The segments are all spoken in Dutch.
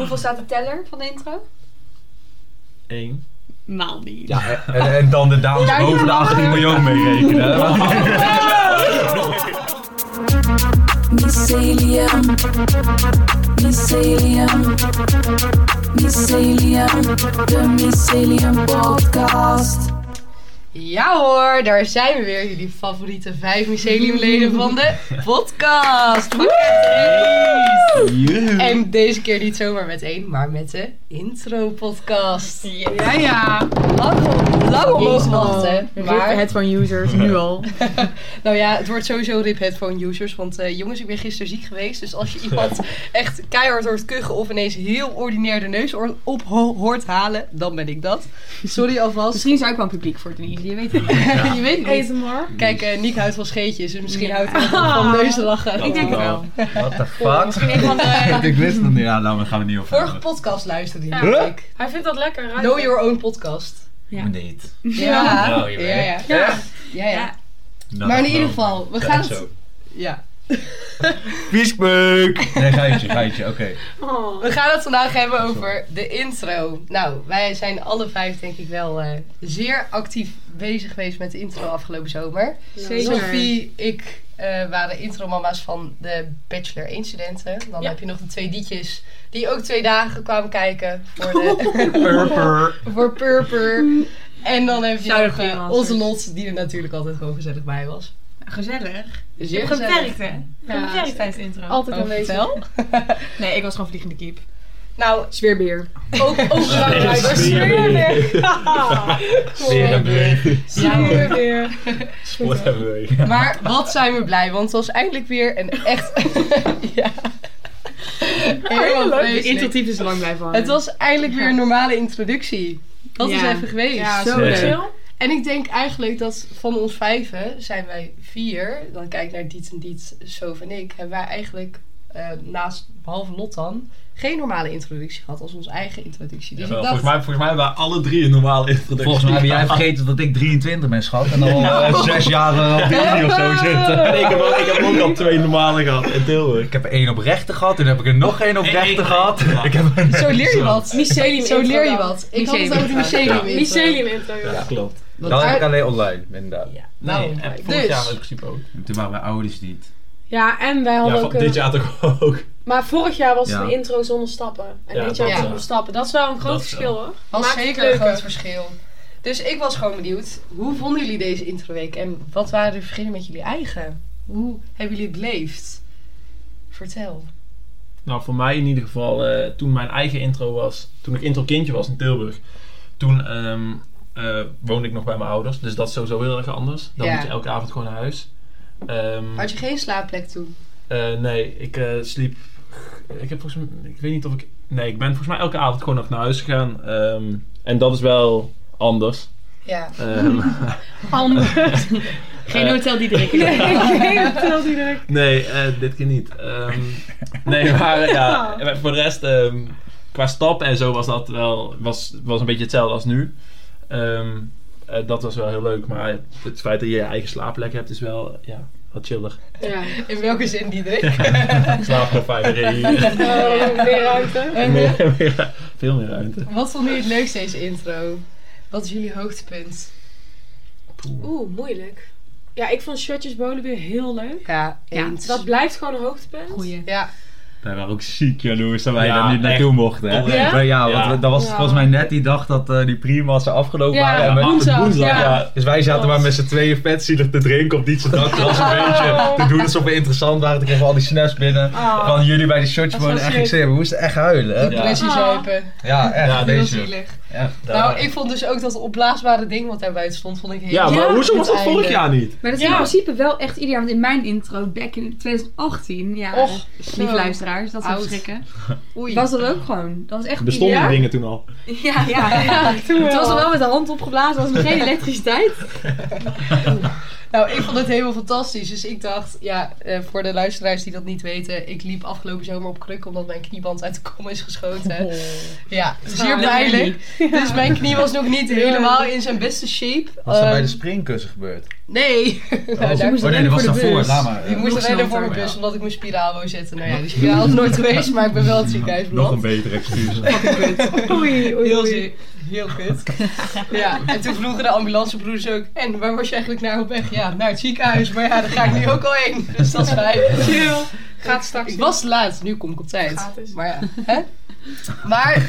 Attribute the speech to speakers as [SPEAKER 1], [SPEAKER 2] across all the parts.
[SPEAKER 1] hoeveel staat de teller van de intro?
[SPEAKER 2] Eén.
[SPEAKER 3] Maal niet.
[SPEAKER 4] Ja, en, en dan de dames
[SPEAKER 1] Nou, Ja,
[SPEAKER 4] boven de
[SPEAKER 1] ja.
[SPEAKER 4] 18 miljoen meerekenen.
[SPEAKER 5] Mycelium. Mycelium. Mycelium. De Mycelium Podcast.
[SPEAKER 3] Ja hoor, daar zijn we weer. Jullie favoriete vijf myceliumleden van de podcast. Woe! En deze keer niet zomaar met één, maar met de intro-podcast.
[SPEAKER 1] Ja, ja.
[SPEAKER 3] Lang, lang op mogen wachten.
[SPEAKER 1] Maar
[SPEAKER 3] Maar,
[SPEAKER 1] het van users, nu al.
[SPEAKER 3] nou ja, het wordt sowieso rip headphone users. Want eh, jongens, ik ben gisteren ziek geweest. Dus als je iemand echt keihard hoort kuchen of ineens heel ordinair de neus oor- op ho- hoort halen, dan ben ik dat. Sorry alvast.
[SPEAKER 1] Misschien zou ik wel een publiek voor het niet, je weet het niet.
[SPEAKER 3] je weet het niet.
[SPEAKER 1] ASMR?
[SPEAKER 3] Kijk, eh Niek houdt van scheetjes, dus misschien
[SPEAKER 1] Ja.
[SPEAKER 3] houdt hij van- van neuslachen.
[SPEAKER 1] Ik denk het wel.
[SPEAKER 4] What the fuck?
[SPEAKER 1] Misschien een van de...
[SPEAKER 4] Ik wist het niet. Ja, nou, we gaan het niet over
[SPEAKER 3] Vorige
[SPEAKER 4] hebben.
[SPEAKER 3] podcast luisterde hij,
[SPEAKER 1] Ja.
[SPEAKER 3] denk ik.
[SPEAKER 1] Hij vindt dat lekker. ruiken.
[SPEAKER 3] Know Your Own Podcast.
[SPEAKER 1] Nou, Ja.
[SPEAKER 4] Niet.
[SPEAKER 3] Ja. Ja,
[SPEAKER 2] Nou, je
[SPEAKER 3] ja. ja,
[SPEAKER 2] weet.
[SPEAKER 1] Ja.
[SPEAKER 3] ja, ja.
[SPEAKER 1] Ja.
[SPEAKER 4] Nou,
[SPEAKER 3] Maar in
[SPEAKER 4] dat
[SPEAKER 3] ieder
[SPEAKER 4] geloof
[SPEAKER 3] geval,
[SPEAKER 4] ik.
[SPEAKER 3] we
[SPEAKER 4] Ja,
[SPEAKER 3] gaan het...
[SPEAKER 4] zo.
[SPEAKER 3] Ja.
[SPEAKER 4] Viesbeuk! Nee, geitje, geitje, oké.
[SPEAKER 1] Oh.
[SPEAKER 3] We gaan het vandaag hebben over de intro. Nou, wij zijn alle vijf denk ik wel eh, zeer actief bezig geweest met de intro afgelopen zomer.
[SPEAKER 1] Zeker.
[SPEAKER 3] Sophie, ik eh, waren intromama's van de Bachelor 1 studenten. Dan
[SPEAKER 1] Ja.
[SPEAKER 3] heb je nog de twee dietjes die ook twee dagen kwamen kijken voor de...
[SPEAKER 4] Purper.
[SPEAKER 3] voor Purper. En dan heb je
[SPEAKER 1] Shout-out
[SPEAKER 3] nog
[SPEAKER 1] to
[SPEAKER 3] eh,
[SPEAKER 1] you,
[SPEAKER 3] onze
[SPEAKER 1] masters.
[SPEAKER 3] Lot, die er natuurlijk altijd gewoon gezellig bij was. Dus
[SPEAKER 6] Gezellig. Ik
[SPEAKER 3] Zeer
[SPEAKER 6] heb
[SPEAKER 3] gezellig.
[SPEAKER 6] gewerkt, hè? Ik heb
[SPEAKER 1] Ja,
[SPEAKER 6] gewerkt tijdens de intro.
[SPEAKER 1] Altijd
[SPEAKER 3] Oh,
[SPEAKER 1] aanwezig.
[SPEAKER 3] vertel.
[SPEAKER 6] Nee, ik was gewoon vliegende keep.
[SPEAKER 3] Nou,
[SPEAKER 1] Sfeerbeheer.
[SPEAKER 3] ook, ook belangrijker.
[SPEAKER 4] Weer een week.
[SPEAKER 3] Ja,
[SPEAKER 1] Sfeerbeheer.
[SPEAKER 4] Wat hebben we?
[SPEAKER 3] maar wat zijn we blij, want het was eindelijk weer een echt... ja. Helemaal
[SPEAKER 1] De
[SPEAKER 3] vreselijk.
[SPEAKER 1] intuïtief is er lang blij van.
[SPEAKER 3] Het was eindelijk weer een normale introductie. Dat is
[SPEAKER 1] Ja.
[SPEAKER 3] even geweest.
[SPEAKER 1] Ja, zo
[SPEAKER 4] Zeker.
[SPEAKER 1] leuk.
[SPEAKER 3] En ik denk eigenlijk dat van ons vijven zijn wij vier. Dan kijk ik naar Diet en Diet, Sof en ik. Hebben wij eigenlijk, eh, naast, behalve Lot dan, geen normale introductie gehad als onze eigen introductie. Dus ik dacht,
[SPEAKER 2] volgens, mij, volgens mij waren alle drie een normale introductie.
[SPEAKER 4] Volgens mij heb jij vergeten dat ik 23 ben, schat. En dan al eh, zes jaar eh, op de video of zo zitten.
[SPEAKER 2] Nee, ik, heb ook, ik heb ook al twee normale gehad in Tilburg.
[SPEAKER 4] Ik heb er één op rechten gehad, toen heb ik er nog één op
[SPEAKER 2] Eén-
[SPEAKER 4] rechten
[SPEAKER 2] één-
[SPEAKER 4] gehad.
[SPEAKER 2] één-
[SPEAKER 4] Ik heb een...
[SPEAKER 3] zo leer je wat.
[SPEAKER 1] Mycelium
[SPEAKER 3] Zo leer je
[SPEAKER 1] intro
[SPEAKER 3] wat.
[SPEAKER 1] dan.
[SPEAKER 3] Ik had het over de
[SPEAKER 1] intro.
[SPEAKER 3] mycelium.
[SPEAKER 1] Mycelium intro, ja.
[SPEAKER 2] Ja, klopt.
[SPEAKER 3] Want
[SPEAKER 4] Dat heb
[SPEAKER 3] daar-
[SPEAKER 4] ik alleen online, inderdaad.
[SPEAKER 3] Ja,
[SPEAKER 2] Nee,
[SPEAKER 3] daarom.
[SPEAKER 2] en vorig
[SPEAKER 3] dus,
[SPEAKER 2] jaar in principe ook.
[SPEAKER 4] En toen waren mijn ouders niet.
[SPEAKER 1] Ja, en wij hadden
[SPEAKER 2] Ja, van,
[SPEAKER 1] ook... een-
[SPEAKER 2] dit jaar toch ook.
[SPEAKER 1] Maar vorig jaar was het
[SPEAKER 4] Ja.
[SPEAKER 1] een intro zonder stappen. En
[SPEAKER 2] Ja,
[SPEAKER 1] dit jaar
[SPEAKER 3] dat,
[SPEAKER 1] zonder
[SPEAKER 2] ja.
[SPEAKER 1] stappen. Dat is wel een groot
[SPEAKER 2] Dat is
[SPEAKER 1] verschil hoor.
[SPEAKER 3] was
[SPEAKER 1] Maakt het
[SPEAKER 3] zeker een
[SPEAKER 1] leuker.
[SPEAKER 3] groot verschil. Dus ik was gewoon benieuwd, hoe vonden jullie deze introweek? En wat waren de verschillen met jullie eigen? Hoe hebben jullie het beleefd? Vertel.
[SPEAKER 2] Nou, voor mij in ieder geval, eh, toen mijn eigen intro was, toen ik intro kindje was in Tilburg, toen ehm, eh, woonde ik nog bij mijn ouders. Dus dat is sowieso heel erg anders. Dan
[SPEAKER 3] Ja.
[SPEAKER 2] moet je elke avond gewoon naar huis. Ehm,
[SPEAKER 3] Had je geen slaapplek toen?
[SPEAKER 2] eh, nee, ik eh, sliep. Ik heb volgens mij. Ik weet niet of ik. Nee, ik ben volgens mij elke avond gewoon nog naar huis gegaan. Ehm, en dat is wel anders.
[SPEAKER 3] Ja.
[SPEAKER 2] Ehm,
[SPEAKER 6] Geen hotel die drinken.
[SPEAKER 2] Nee, eh, dit keer niet. Ehm, nee, maar eh,
[SPEAKER 1] Oh.
[SPEAKER 2] ja, eh, voor de rest, ehm, qua stappen en zo was dat wel was, was een beetje hetzelfde als nu. Ehm, eh, dat was wel heel leuk, maar het feit dat je je eigen slaapplek hebt is wel eh, ja, wat chiller.
[SPEAKER 1] Ja.
[SPEAKER 3] In welke zin die drinken?
[SPEAKER 2] Slaap nog vijf uur.
[SPEAKER 1] Oh, meer ruimte.
[SPEAKER 2] Meer- meer- Veel meer ruimte.
[SPEAKER 3] Wat vond jullie het leukste deze intro? Wat is jullie hoogtepunt?
[SPEAKER 1] Oeh, moeilijk. Ja, ik vond shirtjes bowlen weer heel leuk.
[SPEAKER 3] Ja, eens.
[SPEAKER 1] Dat blijft gewoon een hoogtepunt.
[SPEAKER 3] Ja,
[SPEAKER 4] Wij waren ook ziek jaloers dat wij
[SPEAKER 2] Ja,
[SPEAKER 4] daar niet naartoe mochten. hè.
[SPEAKER 2] Oprecht.
[SPEAKER 4] Maar ja, want
[SPEAKER 2] Ja.
[SPEAKER 4] we- dat was
[SPEAKER 1] Ja.
[SPEAKER 4] volgens mij net die dag dat eh, die primassen afgelopen
[SPEAKER 1] Ja,
[SPEAKER 4] waren. En we-
[SPEAKER 2] maar
[SPEAKER 1] woensdag, ja.
[SPEAKER 4] Dus wij zaten
[SPEAKER 1] Klopt.
[SPEAKER 4] maar met z'n tweeën vetzielig te drinken op die dag. Dat was
[SPEAKER 7] Oh,
[SPEAKER 4] een beetje te doen alsof we interessant waren. Toen kregen we al die snaps binnen. Van jullie bij de shotjes
[SPEAKER 1] Dat
[SPEAKER 4] worden
[SPEAKER 1] was
[SPEAKER 4] echt
[SPEAKER 1] leuk.
[SPEAKER 4] ik zei, we moesten echt huilen. Hè?
[SPEAKER 2] Ja.
[SPEAKER 3] depressie
[SPEAKER 1] Ah.
[SPEAKER 3] zuipen.
[SPEAKER 4] Ja, echt.
[SPEAKER 2] Ja,
[SPEAKER 3] Heel
[SPEAKER 4] deze.
[SPEAKER 3] zielig.
[SPEAKER 4] Echt.
[SPEAKER 3] Nou, ik vond dus ook dat opblaasbare ding wat daar buiten stond, vond ik heel
[SPEAKER 2] Ja, maar
[SPEAKER 3] Ja,
[SPEAKER 2] hoezo was
[SPEAKER 3] het
[SPEAKER 2] dat vorig
[SPEAKER 3] einde.
[SPEAKER 2] jaar niet?
[SPEAKER 7] Maar dat is
[SPEAKER 1] Ja.
[SPEAKER 7] in principe wel echt ieder jaar. Want in mijn intro, back in 2018, ja,
[SPEAKER 3] Och,
[SPEAKER 7] lief
[SPEAKER 3] zo.
[SPEAKER 7] luisteraars, dat zou
[SPEAKER 3] Oud.
[SPEAKER 7] schrikken.
[SPEAKER 3] Oei.
[SPEAKER 7] Was dat ook gewoon? Dat was echt
[SPEAKER 2] Bestonden
[SPEAKER 7] ieder
[SPEAKER 2] die dingen
[SPEAKER 7] jaar.
[SPEAKER 2] toen al?
[SPEAKER 7] Ja, ja. ja. Het was al wel met de hand opgeblazen, was nog geen elektriciteit.
[SPEAKER 3] Nou, ik vond het helemaal fantastisch. Dus ik dacht, ja, eh, voor de luisteraars die dat niet weten, ik liep afgelopen zomer op kruk omdat mijn knieband uit de kom is geschoten. Ja, zeer
[SPEAKER 7] Ah,
[SPEAKER 3] pijnlijk. Dus mijn knie was nog niet helemaal in zijn beste shape.
[SPEAKER 4] Was dat bij de
[SPEAKER 3] Ehm,
[SPEAKER 4] springkussen gebeurd?
[SPEAKER 3] Nee. Nou, daar-
[SPEAKER 4] oh nee, dat was
[SPEAKER 7] voor de
[SPEAKER 4] daarvoor.
[SPEAKER 7] bus.
[SPEAKER 4] Laat maar. eh.
[SPEAKER 3] Ik moest
[SPEAKER 7] Nog
[SPEAKER 3] rennen voor
[SPEAKER 7] slanker,
[SPEAKER 3] mijn bus
[SPEAKER 4] ja.
[SPEAKER 3] omdat ik mijn spiraal wou zetten. Nou ja, die spiraal zelf nooit geweest, maar ik ben wel het ziekenhuis
[SPEAKER 8] Nog een
[SPEAKER 3] beland.
[SPEAKER 8] beter excuus.
[SPEAKER 3] Fucking kut.
[SPEAKER 7] Oei, oei,
[SPEAKER 3] Heel
[SPEAKER 7] oei.
[SPEAKER 3] ziek. Heel kut. Ja, en toen vroegen de ambulancebroeders ook... En waar was je eigenlijk naar op weg? Ja, naar het ziekenhuis. Maar ja, daar ga ik nu ook al heen. Dus dat is fijn. Chill.
[SPEAKER 1] Gaat straks.
[SPEAKER 3] Ik was te laat, nu kom ik op tijd.
[SPEAKER 1] Gratis.
[SPEAKER 3] Maar ja, hè? Maar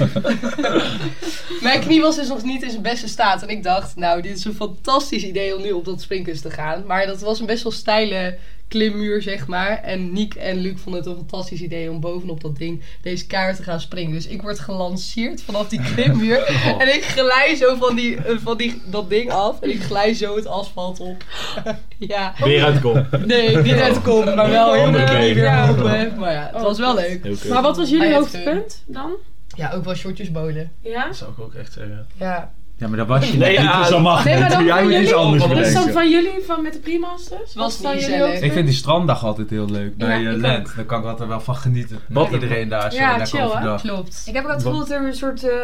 [SPEAKER 3] mijn knie was dus nog niet in zijn beste staat. En ik dacht, nou, dit is een fantastisch idee om nu op dat springkussen te gaan. Maar dat was een best wel steile klimmuur, zeg maar. En Niek en Luc vonden het een fantastisch idee om bovenop dat ding deze kaart te gaan springen. Dus ik word gelanceerd vanaf die klimmuur. En ik glij zo van, die, eh, van die, dat ding af. En ik glij zo het asfalt op. ja.
[SPEAKER 8] Weer uitkomen.
[SPEAKER 3] Nee, niet uitkomen, maar wel heel
[SPEAKER 8] Andere
[SPEAKER 3] leuk
[SPEAKER 8] benen.
[SPEAKER 3] weer open. hè. Maar ja, het
[SPEAKER 1] Oh,
[SPEAKER 3] was wel
[SPEAKER 1] goed.
[SPEAKER 3] leuk.
[SPEAKER 8] Heel kut.
[SPEAKER 7] Maar wat was jullie
[SPEAKER 3] Ah, ja, het,
[SPEAKER 7] hoogtepunt dan?
[SPEAKER 3] Ja, ook wel shortjes bolen.
[SPEAKER 7] Ja?
[SPEAKER 2] Dat zou ik ook echt zeggen.
[SPEAKER 3] Ja.
[SPEAKER 8] Ja, maar dat was je
[SPEAKER 2] Nee,
[SPEAKER 8] niet.
[SPEAKER 2] ja,
[SPEAKER 8] dus dat mag
[SPEAKER 7] nee,
[SPEAKER 8] niet.
[SPEAKER 7] maar dan
[SPEAKER 8] Jij
[SPEAKER 7] van
[SPEAKER 8] moet iets
[SPEAKER 7] jullie-
[SPEAKER 8] anders
[SPEAKER 2] dan
[SPEAKER 7] Dus dan
[SPEAKER 8] bedenken.
[SPEAKER 7] van jullie van met de pre-masters?
[SPEAKER 3] Was niet
[SPEAKER 7] van jullie
[SPEAKER 3] gezellig.
[SPEAKER 7] hoogtepunt?
[SPEAKER 4] Ik vind die stranddag altijd heel leuk bij
[SPEAKER 7] Ja,
[SPEAKER 4] eh,
[SPEAKER 7] ik
[SPEAKER 4] Lent. Daar kan ik altijd wel van genieten.
[SPEAKER 2] Wat-
[SPEAKER 4] Wat iedereen daar zo
[SPEAKER 7] Ja,
[SPEAKER 4] lekker
[SPEAKER 7] chill, hè?
[SPEAKER 4] overdag.
[SPEAKER 3] Klopt.
[SPEAKER 7] Ik heb ook het gevoel dat er een soort... eh,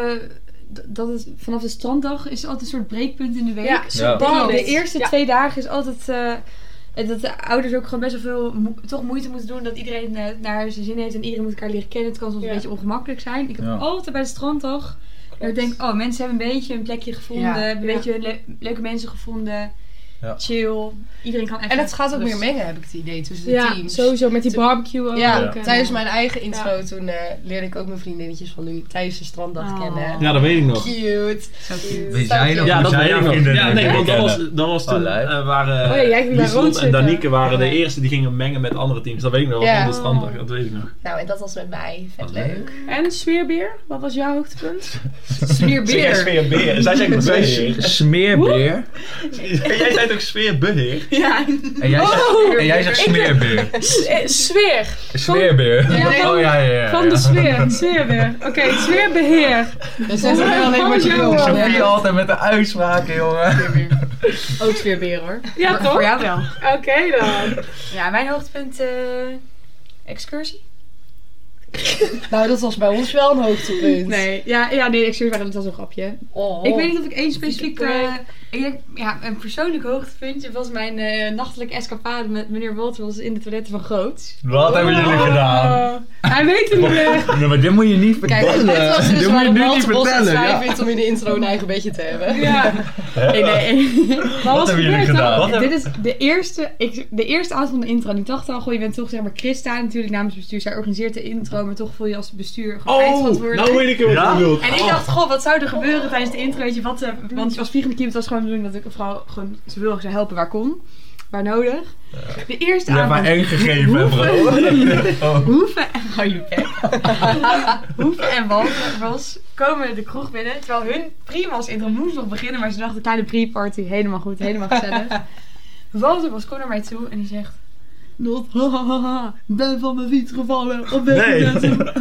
[SPEAKER 7] d- dat het, vanaf de stranddag is altijd een soort breekpunt in de week.
[SPEAKER 1] Ja,
[SPEAKER 4] Ja.
[SPEAKER 3] Oh.
[SPEAKER 7] Bam, de
[SPEAKER 1] Klopt.
[SPEAKER 7] eerste
[SPEAKER 1] Ja.
[SPEAKER 7] twee dagen is altijd... eh, en dat de ouders ook gewoon best wel veel mo- toch moeite moeten doen. Dat iedereen eh, naar zijn zin heeft en iedereen moet elkaar leren kennen. Het kan soms
[SPEAKER 1] Ja.
[SPEAKER 7] een beetje ongemakkelijk zijn. Ik heb
[SPEAKER 4] Ja.
[SPEAKER 7] altijd bij de stranddag... dat Ik denk, oh, mensen hebben een beetje een plekje gevonden.
[SPEAKER 3] Ja.
[SPEAKER 7] Hebben een beetje hun le- leuke mensen gevonden.
[SPEAKER 4] Ja.
[SPEAKER 7] Chill. Iedereen kan echt...
[SPEAKER 3] En het gaat ook meer
[SPEAKER 7] rustig-
[SPEAKER 3] mengen, heb ik het idee, tussen de
[SPEAKER 7] Dus- Ja,
[SPEAKER 3] teams.
[SPEAKER 7] sowieso. Met die barbecue ook.
[SPEAKER 3] Ja,
[SPEAKER 7] en-
[SPEAKER 3] tijdens mijn eigen intro toen eh, leerde ik ook mijn vriendinnetjes van nu tijdens de stranddag
[SPEAKER 7] Oh.
[SPEAKER 3] kennen.
[SPEAKER 2] Ja, dat weet ik nog.
[SPEAKER 3] Cute.
[SPEAKER 4] Wie zijn
[SPEAKER 3] Dank
[SPEAKER 4] er?
[SPEAKER 2] Ja, dat
[SPEAKER 8] Zij
[SPEAKER 2] weet ik
[SPEAKER 8] nog
[SPEAKER 2] nog.
[SPEAKER 8] in de-
[SPEAKER 2] Ja, nee,
[SPEAKER 8] in de
[SPEAKER 2] want dat was,
[SPEAKER 8] kennen.
[SPEAKER 2] dat was toen
[SPEAKER 4] Allee.
[SPEAKER 2] eh, waren
[SPEAKER 7] Oh ja, jij ging daar
[SPEAKER 2] Lieselot
[SPEAKER 7] rond
[SPEAKER 2] en
[SPEAKER 7] zitten.
[SPEAKER 2] Danieke waren de
[SPEAKER 7] Ja.
[SPEAKER 2] eerste die gingen mengen met andere teams. Dat weet ik nog wel
[SPEAKER 3] Ja.
[SPEAKER 2] van de standaard. Dat weet ik nog.
[SPEAKER 3] Nou, en dat was met mij. Vet
[SPEAKER 4] Wat leuk.
[SPEAKER 3] leuk.
[SPEAKER 7] En sfeerbeer? Wat was jouw hoogtepunt?
[SPEAKER 3] Smeerbeer.
[SPEAKER 2] Sfeerbeheer. Zij zijn ook
[SPEAKER 4] Wij
[SPEAKER 2] sfeerbeheer.
[SPEAKER 4] smeerbeer.
[SPEAKER 2] Jij zei ook sfeerbeheer?
[SPEAKER 7] Ja.
[SPEAKER 4] En jij
[SPEAKER 7] Oh.
[SPEAKER 4] zegt, en jij zegt smeerbeer.
[SPEAKER 7] Sfeer.
[SPEAKER 4] Sfeerbeer.
[SPEAKER 7] Ja,
[SPEAKER 4] Oh ja, ja, ja.
[SPEAKER 7] Van de sfeer. Sfeerbeer. Oké, sfeerbeheer.
[SPEAKER 3] Dus dat is wel alleen maar
[SPEAKER 7] Oh,
[SPEAKER 3] chill.
[SPEAKER 7] ja.
[SPEAKER 4] Sophie altijd met de uitspraken, jongen.
[SPEAKER 3] Ook smeerbeer hoor.
[SPEAKER 7] Ja, toch?
[SPEAKER 3] jou wel.
[SPEAKER 7] Oké dan.
[SPEAKER 9] Ja, mijn hoogtepunt... eh, excursie?
[SPEAKER 3] Nou, dat was bij ons wel een hoogtepunt.
[SPEAKER 7] Nee, ja, ja, nee, excuus, maar dat was een grapje.
[SPEAKER 3] Oh.
[SPEAKER 7] Ik weet niet of ik één specifiek...
[SPEAKER 9] break.
[SPEAKER 7] eh, ik denk, ja, een persoonlijk hoogtepuntje was mijn eh, nachtelijke escapade met meneer Wolters in de toiletten van Groots.
[SPEAKER 4] Wat hebben jullie gedaan?
[SPEAKER 7] Hij weet het niet meer.
[SPEAKER 4] Nee, maar dit moet je niet
[SPEAKER 3] Kijk, het was dus
[SPEAKER 4] dit moet je
[SPEAKER 3] waarom
[SPEAKER 4] nu niet
[SPEAKER 3] Walter Bos het
[SPEAKER 4] vertellen.
[SPEAKER 3] saai
[SPEAKER 4] Ja.
[SPEAKER 3] vindt om in de intro een eigen bedje te hebben.
[SPEAKER 7] Ja.
[SPEAKER 4] Hè?
[SPEAKER 2] Oh,
[SPEAKER 7] Wat, was
[SPEAKER 4] hebben jullie
[SPEAKER 7] gebeurd dan?
[SPEAKER 4] gedaan? Wat
[SPEAKER 7] Dit is de eerste, ik, de eerste avond van de intro. En ik dacht al, goh, je bent toch zeg maar Christa natuurlijk namens bestuur. Zij organiseert de intro, maar toch voel je als bestuur gewoon
[SPEAKER 2] Oh,
[SPEAKER 7] eindverantwoordelijk.
[SPEAKER 2] nou weet ik het wat
[SPEAKER 4] Ja?
[SPEAKER 2] je bedoelt.
[SPEAKER 7] En ik dacht, goh, wat zou er gebeuren tijdens de intro? Weet je, wat, eh, want als vliegende kind was gewoon de bedoeling dat ik een vrouw gewoon zoveel mogelijk zou helpen waar kon. Waar nodig. De eerste
[SPEAKER 4] Je hebt
[SPEAKER 7] avond.
[SPEAKER 4] maar één gegeven, bro.
[SPEAKER 7] Hoeven en hou je bek. Hoeven en Walter Ros komen de kroeg binnen. Terwijl hun prima's intro moest nog beginnen. Maar ze dachten, kleine pre-party. Helemaal goed, helemaal gezellig. Walter Ros komt naar mij toe en die zegt... Not, hahaha, ben van mijn fiets gevallen. Op weg
[SPEAKER 8] Nee.
[SPEAKER 7] naartoe."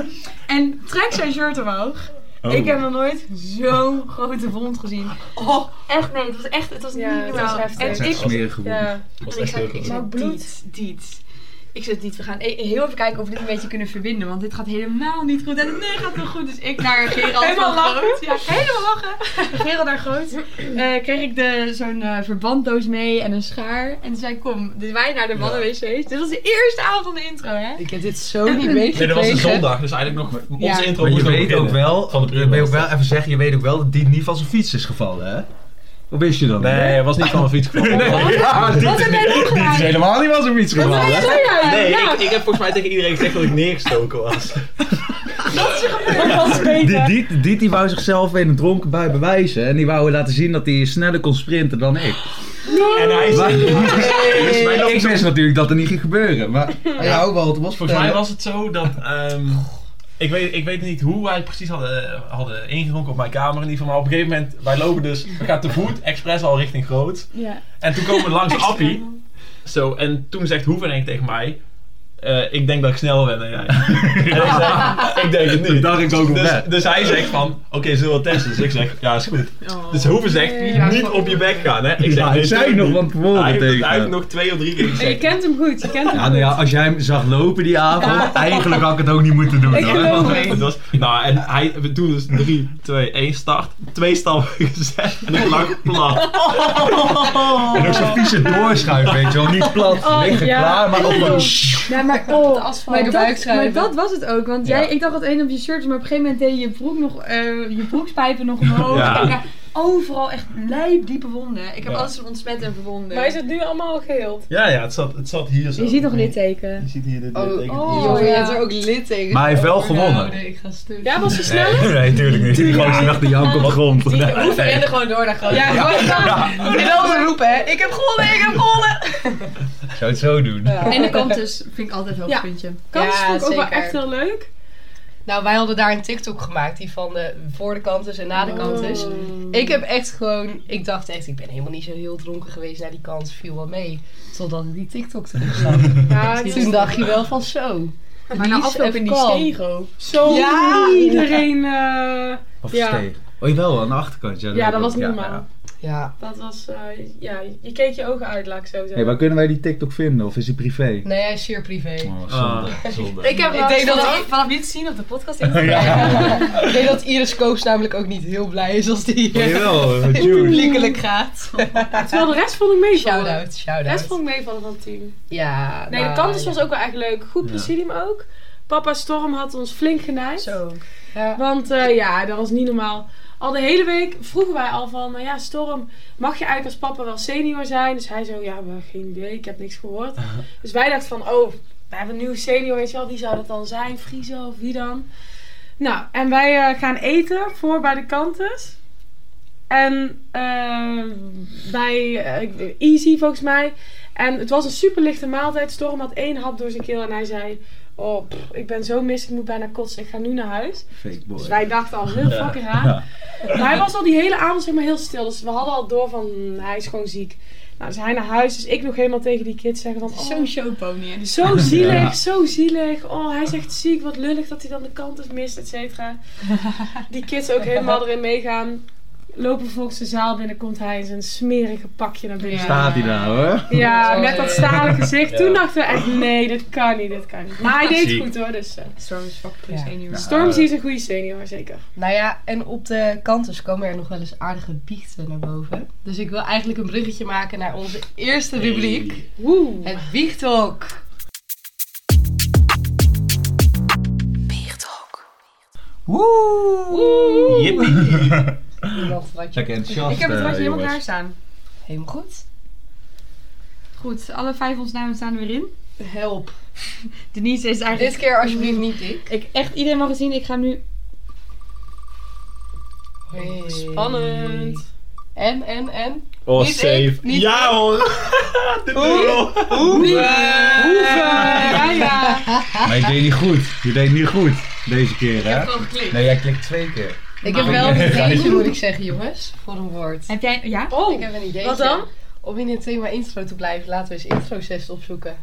[SPEAKER 7] En trekt zijn shirt omhoog.
[SPEAKER 8] Oh.
[SPEAKER 7] Ik heb nog nooit zo'n grote wond gezien. Oh, echt nee. Het was echt, het was
[SPEAKER 1] Ja,
[SPEAKER 7] niet
[SPEAKER 1] het was
[SPEAKER 7] normaal.
[SPEAKER 1] heftig.
[SPEAKER 7] En
[SPEAKER 1] Het
[SPEAKER 4] Dat is
[SPEAKER 7] ik,
[SPEAKER 4] echt smerig geworden.
[SPEAKER 1] Ja.
[SPEAKER 2] was
[SPEAKER 7] ik
[SPEAKER 2] echt
[SPEAKER 7] zei,
[SPEAKER 2] heel
[SPEAKER 7] ik
[SPEAKER 2] goed.
[SPEAKER 7] zei, bloed, dit. Ik zei, dit, we gaan e- heel even kijken of we dit een beetje kunnen verbinden. Want dit gaat helemaal niet goed. En nee, gaat wel goed. Dus ik naar Gerald
[SPEAKER 1] Helemaal
[SPEAKER 7] van
[SPEAKER 1] lachen.
[SPEAKER 7] Groot. Ja, helemaal lachen. Gerald naar Groot. eh, kreeg ik de- zo'n eh, verbanddoos mee en een schaar. En toen zei ik, kom, dus wij naar de mannenwc's. Dit was de eerste avond van de intro, hè?
[SPEAKER 3] Ik heb dit zo niet meegekregen.
[SPEAKER 2] Nee, dat was een zondag, dus eigenlijk nog onze
[SPEAKER 3] Ja.
[SPEAKER 2] intro
[SPEAKER 4] Maar
[SPEAKER 2] moest
[SPEAKER 4] je
[SPEAKER 2] nog
[SPEAKER 4] weet ook
[SPEAKER 2] beginnen.
[SPEAKER 4] wel,
[SPEAKER 2] Van de
[SPEAKER 4] je weet ook
[SPEAKER 2] prullenbak.
[SPEAKER 4] wel, even zeggen, je weet ook wel dat die niet van zijn fiets is gevallen, hè? Hoe wist je dat?
[SPEAKER 2] Nee, hij was niet van mijn fiets gevallen.
[SPEAKER 4] Ja, die,
[SPEAKER 7] Wat een leuke
[SPEAKER 4] die is
[SPEAKER 7] vraag.
[SPEAKER 4] helemaal niet van zijn fiets gevallen.
[SPEAKER 7] Wat zei jij?
[SPEAKER 2] Nee,
[SPEAKER 7] Ja,
[SPEAKER 2] ik, ik heb volgens mij tegen iedereen gezegd dat ik neergestoken was.
[SPEAKER 4] Die, die, die, die wou zichzelf in een dronken bui bewijzen. En die wou laten zien dat hij sneller kon sprinten dan ik.
[SPEAKER 7] Oh,
[SPEAKER 2] En hij is...
[SPEAKER 4] Maar- Dus
[SPEAKER 2] Volgens mij
[SPEAKER 4] ik wist natuurlijk dat er niet ging gebeuren. Maar ja, ook wel, het was
[SPEAKER 2] Volgens mij was het zo dat. ehm, ik, weet, ik weet niet hoe wij het precies hadden, hadden ingedronken op mijn kamer in ieder geval. Maar op een gegeven moment, wij lopen dus. We gaan te voet, expres al richting Groot.
[SPEAKER 7] Ja.
[SPEAKER 2] En toen komen we langs Appie. Zo, en toen zegt Hoevenenk tegen mij. eh, ik denk dat ik sneller ben dan jij. En ik, zeg, ik denk het
[SPEAKER 4] Toen
[SPEAKER 2] niet.
[SPEAKER 4] dacht ik ook nog
[SPEAKER 2] Dus,
[SPEAKER 4] net.
[SPEAKER 2] dus hij zegt van, oké, zullen we het testen? Dus ik zeg, ja, is goed. Dus Hoeven zegt, niet op je bek gaan, hè. Ik zeg,
[SPEAKER 4] Ja, hij
[SPEAKER 2] dit
[SPEAKER 4] zei
[SPEAKER 2] doe ik
[SPEAKER 4] nog
[SPEAKER 2] niet.
[SPEAKER 4] van tevoren
[SPEAKER 2] Hij heeft-
[SPEAKER 4] tegen
[SPEAKER 2] Hij heeft
[SPEAKER 4] hem.
[SPEAKER 2] nog twee of drie keer
[SPEAKER 7] Je
[SPEAKER 2] gezegd.
[SPEAKER 7] kent hem goed, je kent hem
[SPEAKER 4] Ja, nou ja, als jij hem zag lopen die avond, eigenlijk had ik het ook niet moeten doen.
[SPEAKER 7] Ik
[SPEAKER 4] hoor.
[SPEAKER 7] geloof
[SPEAKER 4] Want-
[SPEAKER 7] het.
[SPEAKER 2] Het was, nou, en hij, we doen dus 3, 2, 1 start. Twee stappen gezet en ik lag plat.
[SPEAKER 4] En ook zo'n vieze doorschuif, weet je wel. Niet plat liggen
[SPEAKER 7] Oh, ja.
[SPEAKER 4] klaar, maar ook wel...
[SPEAKER 7] Ja,
[SPEAKER 10] maar
[SPEAKER 7] Op de
[SPEAKER 10] oh,
[SPEAKER 7] asfalt.
[SPEAKER 10] maar
[SPEAKER 3] de buik
[SPEAKER 10] dat, maar
[SPEAKER 3] schuiven.
[SPEAKER 10] dat was het ook. Want
[SPEAKER 2] Ja.
[SPEAKER 10] jij, ik dacht dat één op je shirt, was, maar op een gegeven moment deed je je broek nog, eh, je broekspijpen nog omhoog.
[SPEAKER 2] Ja.
[SPEAKER 10] En, ja, overal echt lijp diepe wonden. Ik heb
[SPEAKER 2] Ja.
[SPEAKER 10] alles ontsmet en verwonden.
[SPEAKER 1] Maar is het nu allemaal al geheel?
[SPEAKER 2] Ja, ja, het zat, het zat hier zo.
[SPEAKER 10] Je ziet nog
[SPEAKER 2] dit
[SPEAKER 10] litteken.
[SPEAKER 2] Je ziet hier dit
[SPEAKER 3] Oh,
[SPEAKER 2] litteken.
[SPEAKER 10] oh.
[SPEAKER 3] Joh, je
[SPEAKER 10] ja.
[SPEAKER 3] hebt er ook littekens.
[SPEAKER 4] Maar hij heeft wel
[SPEAKER 3] over.
[SPEAKER 4] gewonnen.
[SPEAKER 3] Nou, nee, ik ga stuk.
[SPEAKER 1] Ja, was ze snel?
[SPEAKER 4] Nee, nee, tuurlijk niet. Die gozer lag de jank op de grond.
[SPEAKER 3] We hoeven er gewoon door naar gewoon. Ja, gewoon gaan. En dan roepen, hè. Ik heb gewonnen, ik heb gewonnen.
[SPEAKER 4] Ik zou het zo doen.
[SPEAKER 10] En de kant dus vind ik altijd wel een
[SPEAKER 1] Ja.
[SPEAKER 10] puntje.
[SPEAKER 1] Kans
[SPEAKER 3] Ja,
[SPEAKER 1] vond ik ook wel
[SPEAKER 3] zeker.
[SPEAKER 1] echt heel leuk.
[SPEAKER 3] Nou, wij hadden daar een TikTok gemaakt. Die van de voor de kant is en na de
[SPEAKER 1] Oh.
[SPEAKER 3] kant is.
[SPEAKER 7] Oh.
[SPEAKER 3] Ik heb echt gewoon... Ik dacht echt, ik ben helemaal niet zo heel dronken geweest naar die kant. Viel wel mee. Totdat ik die TikTok terug zag.
[SPEAKER 1] Ja, die
[SPEAKER 3] Toen
[SPEAKER 1] was-
[SPEAKER 3] dacht je wel van zo.
[SPEAKER 10] Maar na
[SPEAKER 3] Die is
[SPEAKER 10] afloop in die
[SPEAKER 3] even kalm.
[SPEAKER 10] stego.
[SPEAKER 1] Zo
[SPEAKER 3] Ja.
[SPEAKER 1] iedereen... eh,
[SPEAKER 4] Of
[SPEAKER 1] Ja.
[SPEAKER 4] steeg. Oh, jawel, aan de achterkant. Ja,
[SPEAKER 1] ja, dat
[SPEAKER 4] weet
[SPEAKER 1] was
[SPEAKER 4] ik.
[SPEAKER 1] niet
[SPEAKER 4] Ja,
[SPEAKER 1] normaal.
[SPEAKER 4] ja.
[SPEAKER 3] Ja.
[SPEAKER 1] Dat was... eh, ja, je keek je ogen uit, laat ik zo zeggen.
[SPEAKER 4] Hey, waar kunnen wij die TikTok vinden? Of is die privé?
[SPEAKER 3] Nee, hij is zeer privé.
[SPEAKER 4] Oh,
[SPEAKER 2] Ah.
[SPEAKER 4] zonde.
[SPEAKER 7] Ik heb
[SPEAKER 3] Ik denk dat
[SPEAKER 7] vanaf,
[SPEAKER 3] ik-
[SPEAKER 7] vanaf nu te zien op de podcast. Ik
[SPEAKER 3] Ik weet dat Iris Koops namelijk ook niet heel blij is als die
[SPEAKER 4] Oh,
[SPEAKER 3] eh,
[SPEAKER 4] jawel, eh, Jude.
[SPEAKER 3] publiekelijk gaat.
[SPEAKER 1] Terwijl de rest vond ik meevallen.
[SPEAKER 3] Shout-out,
[SPEAKER 1] De rest vond
[SPEAKER 3] shout-out.
[SPEAKER 1] ik meevallen van het team.
[SPEAKER 3] Ja.
[SPEAKER 1] Nee, de
[SPEAKER 3] nou,
[SPEAKER 1] kantus
[SPEAKER 3] ja.
[SPEAKER 1] was ook wel echt leuk. Goed presidium ook. Papa Storm had ons flink genaaid.
[SPEAKER 3] Zo. Ja.
[SPEAKER 1] Want eh, ja, dat was niet normaal. Al de hele week vroegen wij al van, nou ja, Storm, mag je eigenlijk als papa wel senior zijn? Dus hij zo, ja, maar geen idee, ik heb niks gehoord. Dus wij dachten van, oh, we hebben een nieuwe senior, weet je wel, wie zou dat dan zijn? Friso of wie dan? Nou, en wij eh, gaan eten voor bij de kantus. En eh, bij eh, Easy volgens mij. En het was een super lichte maaltijd. Storm had één hap door zijn keel en hij zei... Oh, pff, ik ben zo mis, ik moet bijna kotsen. Ik ga nu naar huis.
[SPEAKER 4] Fake boy.
[SPEAKER 1] Dus wij dachten al, heel fucking raar.
[SPEAKER 4] Ja.
[SPEAKER 1] Maar hij was al die hele avond zeg maar heel stil. Dus we hadden al door van, hmm, hij is gewoon ziek. Nou, dus hij naar huis. Dus ik nog helemaal tegen die kids zeggen van... Oh,
[SPEAKER 10] Zo'n showpony. hè. Dus
[SPEAKER 1] zo zielig,
[SPEAKER 4] Ja.
[SPEAKER 1] zo zielig. Oh, hij is echt ziek. Wat lullig dat hij dan de kant is mist, et cetera. Die kids ook helemaal erin meegaan. Lopen volgens de zaal binnen, komt hij in zijn smerige pakje naar binnen. Ja,
[SPEAKER 4] Staat hij nou, hoor?
[SPEAKER 1] met dat stalen gezicht.
[SPEAKER 2] Ja.
[SPEAKER 1] Toen dachten we echt, nee, dit kan niet, dit kan niet. Maar hij deed het
[SPEAKER 2] Ziek.
[SPEAKER 1] goed hoor, dus... eh,
[SPEAKER 10] Storm is fucking plus
[SPEAKER 3] Ja.
[SPEAKER 10] één uur.
[SPEAKER 1] Stormzy is een goede senior, zeker.
[SPEAKER 3] Nou ja, en op de kanten komen er nog wel eens aardige biechten naar boven. Dus ik wil eigenlijk een bruggetje maken naar onze eerste rubriek.
[SPEAKER 1] Woe.
[SPEAKER 3] Het biechthok.
[SPEAKER 2] Oeh, Jippie.
[SPEAKER 4] Lekker enthousiast.
[SPEAKER 10] Ik heb het randje
[SPEAKER 4] eh,
[SPEAKER 10] helemaal
[SPEAKER 4] jongens.
[SPEAKER 10] klaar staan.
[SPEAKER 3] Helemaal goed.
[SPEAKER 10] Goed, alle vijf ons namen staan er weer in.
[SPEAKER 3] Help.
[SPEAKER 10] Denise is eigenlijk...
[SPEAKER 3] Dit keer alsjeblieft niet ik.
[SPEAKER 10] Ik echt iedereen mag gezien. Ik ga hem nu...
[SPEAKER 1] Spannend.
[SPEAKER 3] En, en, en.
[SPEAKER 2] Oh,
[SPEAKER 3] Niet ik,
[SPEAKER 2] safe.
[SPEAKER 3] niet
[SPEAKER 2] ja,
[SPEAKER 3] ik.
[SPEAKER 2] hoor. Dit is wel-
[SPEAKER 10] Ja, ja.
[SPEAKER 4] Maar je deed niet goed. Je deed niet goed. Deze keer, hè?
[SPEAKER 3] Gewoon geklikt.
[SPEAKER 4] Nee, jij klikt twee keer.
[SPEAKER 3] Ik heb wel een ideetje, moet ik zeggen, jongens. Voor een woord.
[SPEAKER 10] Heb jij... Ja?
[SPEAKER 1] Oh,
[SPEAKER 3] Ik heb een ideetje.
[SPEAKER 1] wat dan?
[SPEAKER 3] Om in het thema intro te blijven, laten we eens intro sessies opzoeken.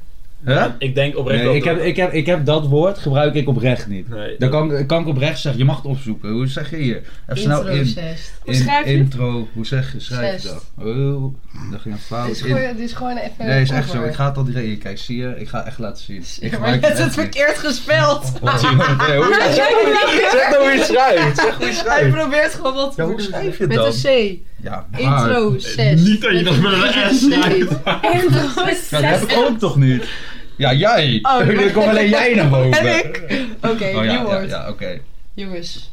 [SPEAKER 4] Huh?
[SPEAKER 2] Ik denk oprecht
[SPEAKER 4] Nee,
[SPEAKER 2] dat
[SPEAKER 4] ik heb,
[SPEAKER 2] het-
[SPEAKER 4] ik, heb, ik heb dat woord gebruik ik oprecht niet.
[SPEAKER 2] Nee,
[SPEAKER 4] Dan
[SPEAKER 2] dat-
[SPEAKER 4] kan, kan ik oprecht zeggen, je mag het opzoeken. Hoe zeg je hier? Even snel
[SPEAKER 3] Intro
[SPEAKER 4] in,
[SPEAKER 3] sessie.
[SPEAKER 1] Hoe
[SPEAKER 4] in-
[SPEAKER 1] schrijf je het?
[SPEAKER 4] intro. Hoe zeg je, schrijf je
[SPEAKER 3] Zest.
[SPEAKER 4] dat? Oh, dat ging een
[SPEAKER 3] Dit is
[SPEAKER 4] fout. In,
[SPEAKER 3] gewoon, dit is gewoon even...
[SPEAKER 4] nee, is echt zo.
[SPEAKER 3] cover.
[SPEAKER 4] Ik ga het al direct in. Kijk, zie je? Ik ga het echt laten zien. Ik
[SPEAKER 3] maar je
[SPEAKER 4] gebruik
[SPEAKER 3] hebt het
[SPEAKER 4] echt niet.
[SPEAKER 3] verkeerd gespeld.
[SPEAKER 4] Laat zien. Nee, hoe- Zeg nou hoe je het schrijft. Zeg hoe je
[SPEAKER 3] Hij
[SPEAKER 4] het schrijft.
[SPEAKER 3] probeert gewoon wat
[SPEAKER 4] Ja,
[SPEAKER 3] te
[SPEAKER 4] hoe
[SPEAKER 3] doen.
[SPEAKER 4] schrijf je het
[SPEAKER 3] Met
[SPEAKER 4] dan? Ah,
[SPEAKER 3] een C.
[SPEAKER 4] Ja, maar-
[SPEAKER 3] Intro 6.
[SPEAKER 2] Niet dat je dat met een S schrijft.
[SPEAKER 4] Ja, dat heb ik ook toch niet? Ja, jij.
[SPEAKER 3] Oh, nee.
[SPEAKER 4] Er komt alleen jij naar boven.
[SPEAKER 3] En ik. Oké,
[SPEAKER 4] Oh ja,
[SPEAKER 3] nieuw
[SPEAKER 4] ja,
[SPEAKER 3] woord.
[SPEAKER 4] ja oké.
[SPEAKER 3] Jongens.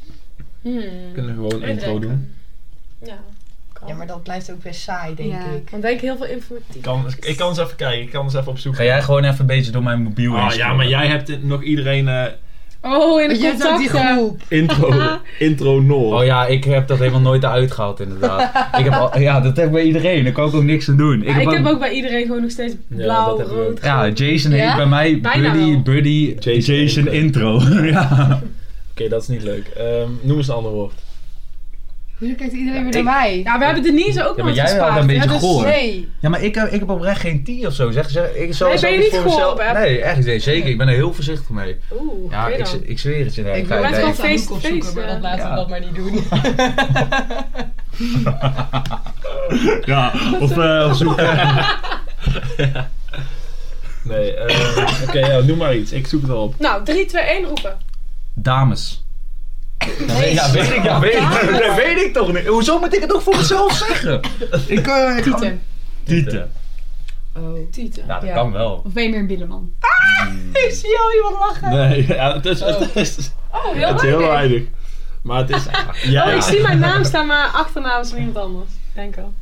[SPEAKER 1] Hmm.
[SPEAKER 2] kunnen gewoon een intro doen.
[SPEAKER 1] Ja.
[SPEAKER 3] Ja, maar dat blijft ook best saai, denk
[SPEAKER 10] Ja.
[SPEAKER 3] ik.
[SPEAKER 1] Want denk heel veel informatief.
[SPEAKER 2] Ik kan, ik kan eens even kijken, ik kan eens even opzoeken.
[SPEAKER 4] Ga jij gewoon even een beetje door mijn mobiel
[SPEAKER 2] Ah,
[SPEAKER 4] heen
[SPEAKER 2] ja,
[SPEAKER 4] scrollen?
[SPEAKER 2] maar jij hebt dit nog iedereen eh,
[SPEAKER 1] Oh, in de
[SPEAKER 3] Je hebt ook die
[SPEAKER 1] contacten.
[SPEAKER 3] groep.
[SPEAKER 2] intro, intro Noor.
[SPEAKER 4] Oh ja, ik heb dat helemaal nooit eruit gehaald inderdaad. ik heb al- ja, dat heb ik bij iedereen. Daar kan ik ook niks aan doen.
[SPEAKER 1] Ja, Ah, ik heb ook bij iedereen gewoon nog steeds blauw,
[SPEAKER 2] dat hebben we
[SPEAKER 1] rood.
[SPEAKER 4] Ja, Jason heet
[SPEAKER 3] Ja?
[SPEAKER 4] bij mij
[SPEAKER 1] Bijna
[SPEAKER 4] Buddy,
[SPEAKER 1] wel.
[SPEAKER 4] Buddy, Jason,
[SPEAKER 2] Jason
[SPEAKER 4] intro. ja.
[SPEAKER 2] Oké, dat is niet leuk. Ehm, noem eens een ander woord.
[SPEAKER 3] Hoezo kijkt iedereen weer
[SPEAKER 2] ik-
[SPEAKER 3] naar mij?
[SPEAKER 1] Ja, we hebben Denise ook
[SPEAKER 4] Ja,
[SPEAKER 1] nog
[SPEAKER 4] maar jij
[SPEAKER 1] gespaard.
[SPEAKER 4] had een beetje
[SPEAKER 1] ja, dus-
[SPEAKER 4] goor.
[SPEAKER 3] Nee.
[SPEAKER 4] ja, maar ik heb, ik heb oprecht geen T of zo. Zeg, zeg, ik zou
[SPEAKER 1] Nee, ben
[SPEAKER 4] zou
[SPEAKER 1] je
[SPEAKER 4] ik
[SPEAKER 1] niet
[SPEAKER 4] voor mezelf-
[SPEAKER 1] geholpen, hè?
[SPEAKER 4] Nee, echt niet. Zeker, ik ben er heel voorzichtig mee.
[SPEAKER 1] Oeh,
[SPEAKER 4] Ja,
[SPEAKER 1] oké
[SPEAKER 4] ik,
[SPEAKER 1] dan.
[SPEAKER 4] z- ik zweer het je. nou,
[SPEAKER 3] Ik wil
[SPEAKER 4] feit,
[SPEAKER 3] net
[SPEAKER 1] het
[SPEAKER 4] nee.
[SPEAKER 1] wel
[SPEAKER 3] wel
[SPEAKER 1] een
[SPEAKER 3] face
[SPEAKER 1] face-to-face,
[SPEAKER 3] to face, maar dat
[SPEAKER 1] eh,
[SPEAKER 3] laten
[SPEAKER 4] ja.
[SPEAKER 3] we dat maar niet doen.
[SPEAKER 4] Ja, of, eh, of zoek.
[SPEAKER 2] Nee, ehm, oké, ja, noem maar iets. Ik zoek het al op.
[SPEAKER 1] Nou, 3, 2, 1 roepen.
[SPEAKER 4] Dames. Ja, weet- ja, weet ik, ja, weet ik. Dat weet ik toch niet. Hoezo moet ik het ook voor mezelf zeggen? Ik, eh, ik
[SPEAKER 3] Tieten.
[SPEAKER 4] Tieten.
[SPEAKER 3] Oh.
[SPEAKER 1] Tieten.
[SPEAKER 11] Nou, dat
[SPEAKER 3] Ja.
[SPEAKER 11] kan wel.
[SPEAKER 10] Of ben je meer een billenman?
[SPEAKER 1] Ik zie al iemand lachen.
[SPEAKER 2] Nee, ja, het is, het is,
[SPEAKER 1] Oh, heel
[SPEAKER 2] het is heel weinig. Maar het is...
[SPEAKER 1] Oh,
[SPEAKER 2] Jij,
[SPEAKER 1] ik zie mijn naam staan, maar achternaam is van iemand anders. Denk al.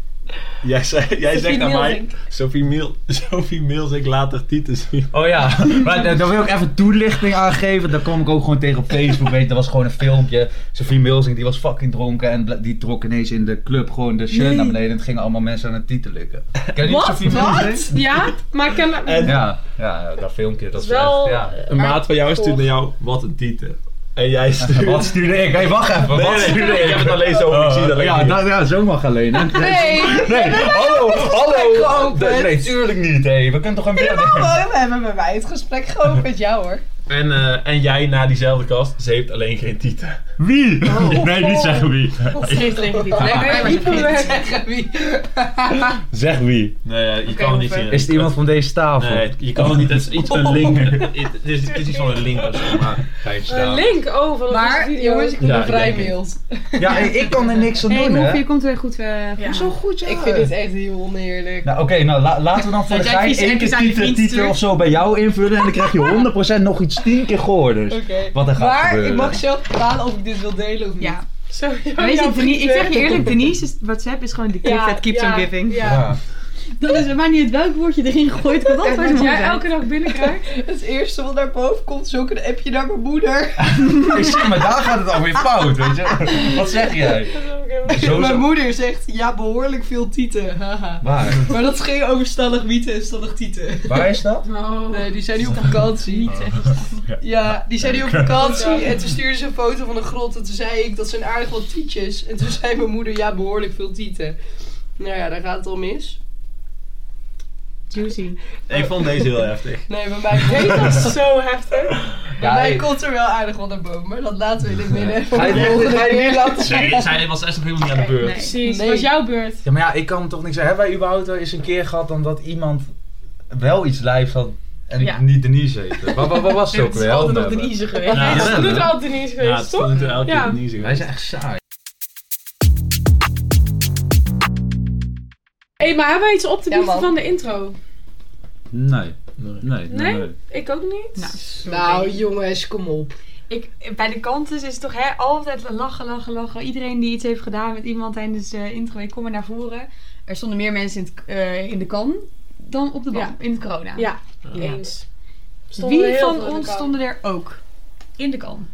[SPEAKER 2] jij, zei- jij zegt aan mij...
[SPEAKER 1] Mielzink.
[SPEAKER 2] Sophie Miel, Sophie Miel, ik later Tieten zien.
[SPEAKER 11] Oh ja.
[SPEAKER 4] Maar daar daar wil ik even toelichting aan geven. Daar kwam ik ook gewoon tegen op Facebook. Weet je, dat was gewoon een filmpje. Sophie Milsing die was fucking dronken. En bla- die trok ineens in de club gewoon de shirt naar beneden. En het gingen allemaal mensen aan het tieten lukken. Ken je niet
[SPEAKER 1] Wat?
[SPEAKER 4] Sophie Milsing?
[SPEAKER 1] Ja, maar ik ken...
[SPEAKER 2] En-
[SPEAKER 4] Ja, ja, dat filmpje. Dat is
[SPEAKER 1] Wel-
[SPEAKER 4] echt, ja.
[SPEAKER 2] Een maat van jou stuurt naar jou, wat een Tieten. En jij stuurt...
[SPEAKER 4] Wat stuurde ik? Hé, hey, wacht even.
[SPEAKER 2] Nee,
[SPEAKER 4] wat
[SPEAKER 2] nee,
[SPEAKER 4] stuurde
[SPEAKER 2] nee, ik heb het alleen zo
[SPEAKER 4] Oh,
[SPEAKER 2] ik zie dat alleen
[SPEAKER 4] ja,
[SPEAKER 2] niet.
[SPEAKER 4] dat- ja, zo mag alleen. hè?
[SPEAKER 3] Nee,
[SPEAKER 4] Nee, hallo, hallo.
[SPEAKER 3] geopend.
[SPEAKER 4] Nee, nee, tuurlijk niet. Hey. We kunnen toch een beeld
[SPEAKER 3] we hebben bij mij het gesprek gewoon met jou hoor.
[SPEAKER 2] En, eh, en jij na diezelfde kast, ze heeft alleen geen Tieten.
[SPEAKER 4] Wie? Nee, niet zeggen wie.
[SPEAKER 1] Geef tegen die.
[SPEAKER 3] Lekker
[SPEAKER 1] hyperwerk.
[SPEAKER 3] zeggen wie.
[SPEAKER 4] Zeg wie.
[SPEAKER 2] Nee, ja, je
[SPEAKER 3] Oké,
[SPEAKER 2] kan het niet
[SPEAKER 3] hoeveel?
[SPEAKER 2] zien.
[SPEAKER 4] Is het iemand van deze tafel?
[SPEAKER 2] Nee, het- je kan het niet. Het is iets een link. Het het is, het is iets van een link of zo, maar...
[SPEAKER 1] Een link over
[SPEAKER 3] Maar
[SPEAKER 1] video.
[SPEAKER 3] jongens, ik heb
[SPEAKER 2] Ja,
[SPEAKER 3] een vrij
[SPEAKER 2] ik denk
[SPEAKER 3] mild.
[SPEAKER 4] Ja, hey, ik kan er niks aan
[SPEAKER 10] Hé,
[SPEAKER 4] doen,
[SPEAKER 10] hey, je
[SPEAKER 4] hè?
[SPEAKER 10] komt weer goed. eh,
[SPEAKER 1] Ja.
[SPEAKER 4] Zo goed, ja.
[SPEAKER 3] Ik vind dit echt heel oneerlijk.
[SPEAKER 4] Nou, oké, nou la- laten we dan voor de
[SPEAKER 10] Dat jij
[SPEAKER 4] gein
[SPEAKER 10] vieze
[SPEAKER 4] één keer
[SPEAKER 10] appjes aan je
[SPEAKER 4] titel,
[SPEAKER 10] vriend
[SPEAKER 4] titel
[SPEAKER 10] stuurt.
[SPEAKER 4] of zo bij jou invullen en dan krijg je 100% nog iets 10 keer gehoorders.
[SPEAKER 3] Oké.
[SPEAKER 4] Wat er gaat
[SPEAKER 3] Maar
[SPEAKER 4] gebeuren.
[SPEAKER 3] ik mag zelf bepalen of ik dit wil delen of niet.
[SPEAKER 10] Ja.
[SPEAKER 1] Zo,
[SPEAKER 10] Maar weet je, Deni- ik zeg je eerlijk, Denise, is, WhatsApp is gewoon de gift
[SPEAKER 1] Ja,
[SPEAKER 10] that keeps
[SPEAKER 1] ja,
[SPEAKER 10] on giving.
[SPEAKER 1] ja.
[SPEAKER 4] Ja.
[SPEAKER 10] Dat is het maakt niet uit welk woord je erin gooit, kan dat
[SPEAKER 1] Wat jij elke dag binnenkrijgt.
[SPEAKER 3] Het eerste wat naar boven komt is ook een appje naar mijn moeder.
[SPEAKER 4] Ik zie, maar daar gaat het alweer fout, weet je. Wat zeg jij? Zo,
[SPEAKER 3] Mijn
[SPEAKER 4] zo.
[SPEAKER 3] moeder zegt, ja behoorlijk veel tieten. haha.
[SPEAKER 4] Waar?
[SPEAKER 3] maar dat ging over stallig wieten en stallig tieten.
[SPEAKER 4] Waar is dat?
[SPEAKER 3] Nee, die zijn nu
[SPEAKER 4] Oh.
[SPEAKER 3] op vakantie. Ja, die zijn nu op vakantie en toen stuurde ze een foto van een grot en toen zei ik dat zijn aardig wat tietjes. En toen zei mijn moeder, ja behoorlijk veel tieten. Nou ja, daar gaat het al mis.
[SPEAKER 10] Juicy.
[SPEAKER 2] Ik vond deze heel heftig.
[SPEAKER 3] Nee, bij mij,
[SPEAKER 1] Weet dat is zo heftig.
[SPEAKER 3] bij mij
[SPEAKER 4] ik-
[SPEAKER 3] komt er wel aardig wat naar boven, maar dat laten we in het midden.
[SPEAKER 4] Ga je dit- ga je dit laten
[SPEAKER 2] Zij, zij was echt nog helemaal niet aan de beurt.
[SPEAKER 10] Nee.
[SPEAKER 1] Precies,
[SPEAKER 3] Nee.
[SPEAKER 1] was jouw beurt.
[SPEAKER 4] Ja, maar ja, ik kan toch niks zeggen. Hebben wij überhaupt wel eens een keer gehad dan dat iemand wel iets lijfs had en
[SPEAKER 10] Ja.
[SPEAKER 4] niet Denise heette? Wat, wat, wat was het ook
[SPEAKER 3] Het is
[SPEAKER 4] weer?
[SPEAKER 3] altijd nog
[SPEAKER 4] Help me
[SPEAKER 3] de
[SPEAKER 4] even.
[SPEAKER 3] niezen geweest.
[SPEAKER 2] Ja,
[SPEAKER 1] Dat doet
[SPEAKER 4] hè?
[SPEAKER 1] er altijd niet eens
[SPEAKER 2] Ja,
[SPEAKER 1] geweest,
[SPEAKER 2] het
[SPEAKER 1] toch?
[SPEAKER 2] stond er elke
[SPEAKER 1] Ja.
[SPEAKER 2] keer niet zo
[SPEAKER 4] Wij
[SPEAKER 2] geweest.
[SPEAKER 4] zijn echt saai.
[SPEAKER 1] Hé, maar hebben wij iets op te
[SPEAKER 3] Ja,
[SPEAKER 1] bieden
[SPEAKER 3] man.
[SPEAKER 1] van de intro?
[SPEAKER 4] Nee.
[SPEAKER 2] Nee.
[SPEAKER 4] Nee,
[SPEAKER 1] Nee? Ik ook niet.
[SPEAKER 10] Nou, sorry.
[SPEAKER 3] Nou jongens, kom op.
[SPEAKER 10] Ik, bij de kanten is het toch hè, altijd lachen, lachen, lachen. Iedereen die iets heeft gedaan met iemand tijdens de intro, ik kom maar naar voren. Er stonden meer mensen in, het, eh, in de kan dan op de ban,
[SPEAKER 1] Ja.
[SPEAKER 10] in het corona.
[SPEAKER 1] Ja,
[SPEAKER 10] Ja.
[SPEAKER 1] eens. Stonden er
[SPEAKER 10] Wie
[SPEAKER 1] heel
[SPEAKER 10] van
[SPEAKER 1] veel in de
[SPEAKER 10] ons
[SPEAKER 1] kant.
[SPEAKER 10] stonden er ook in de kan?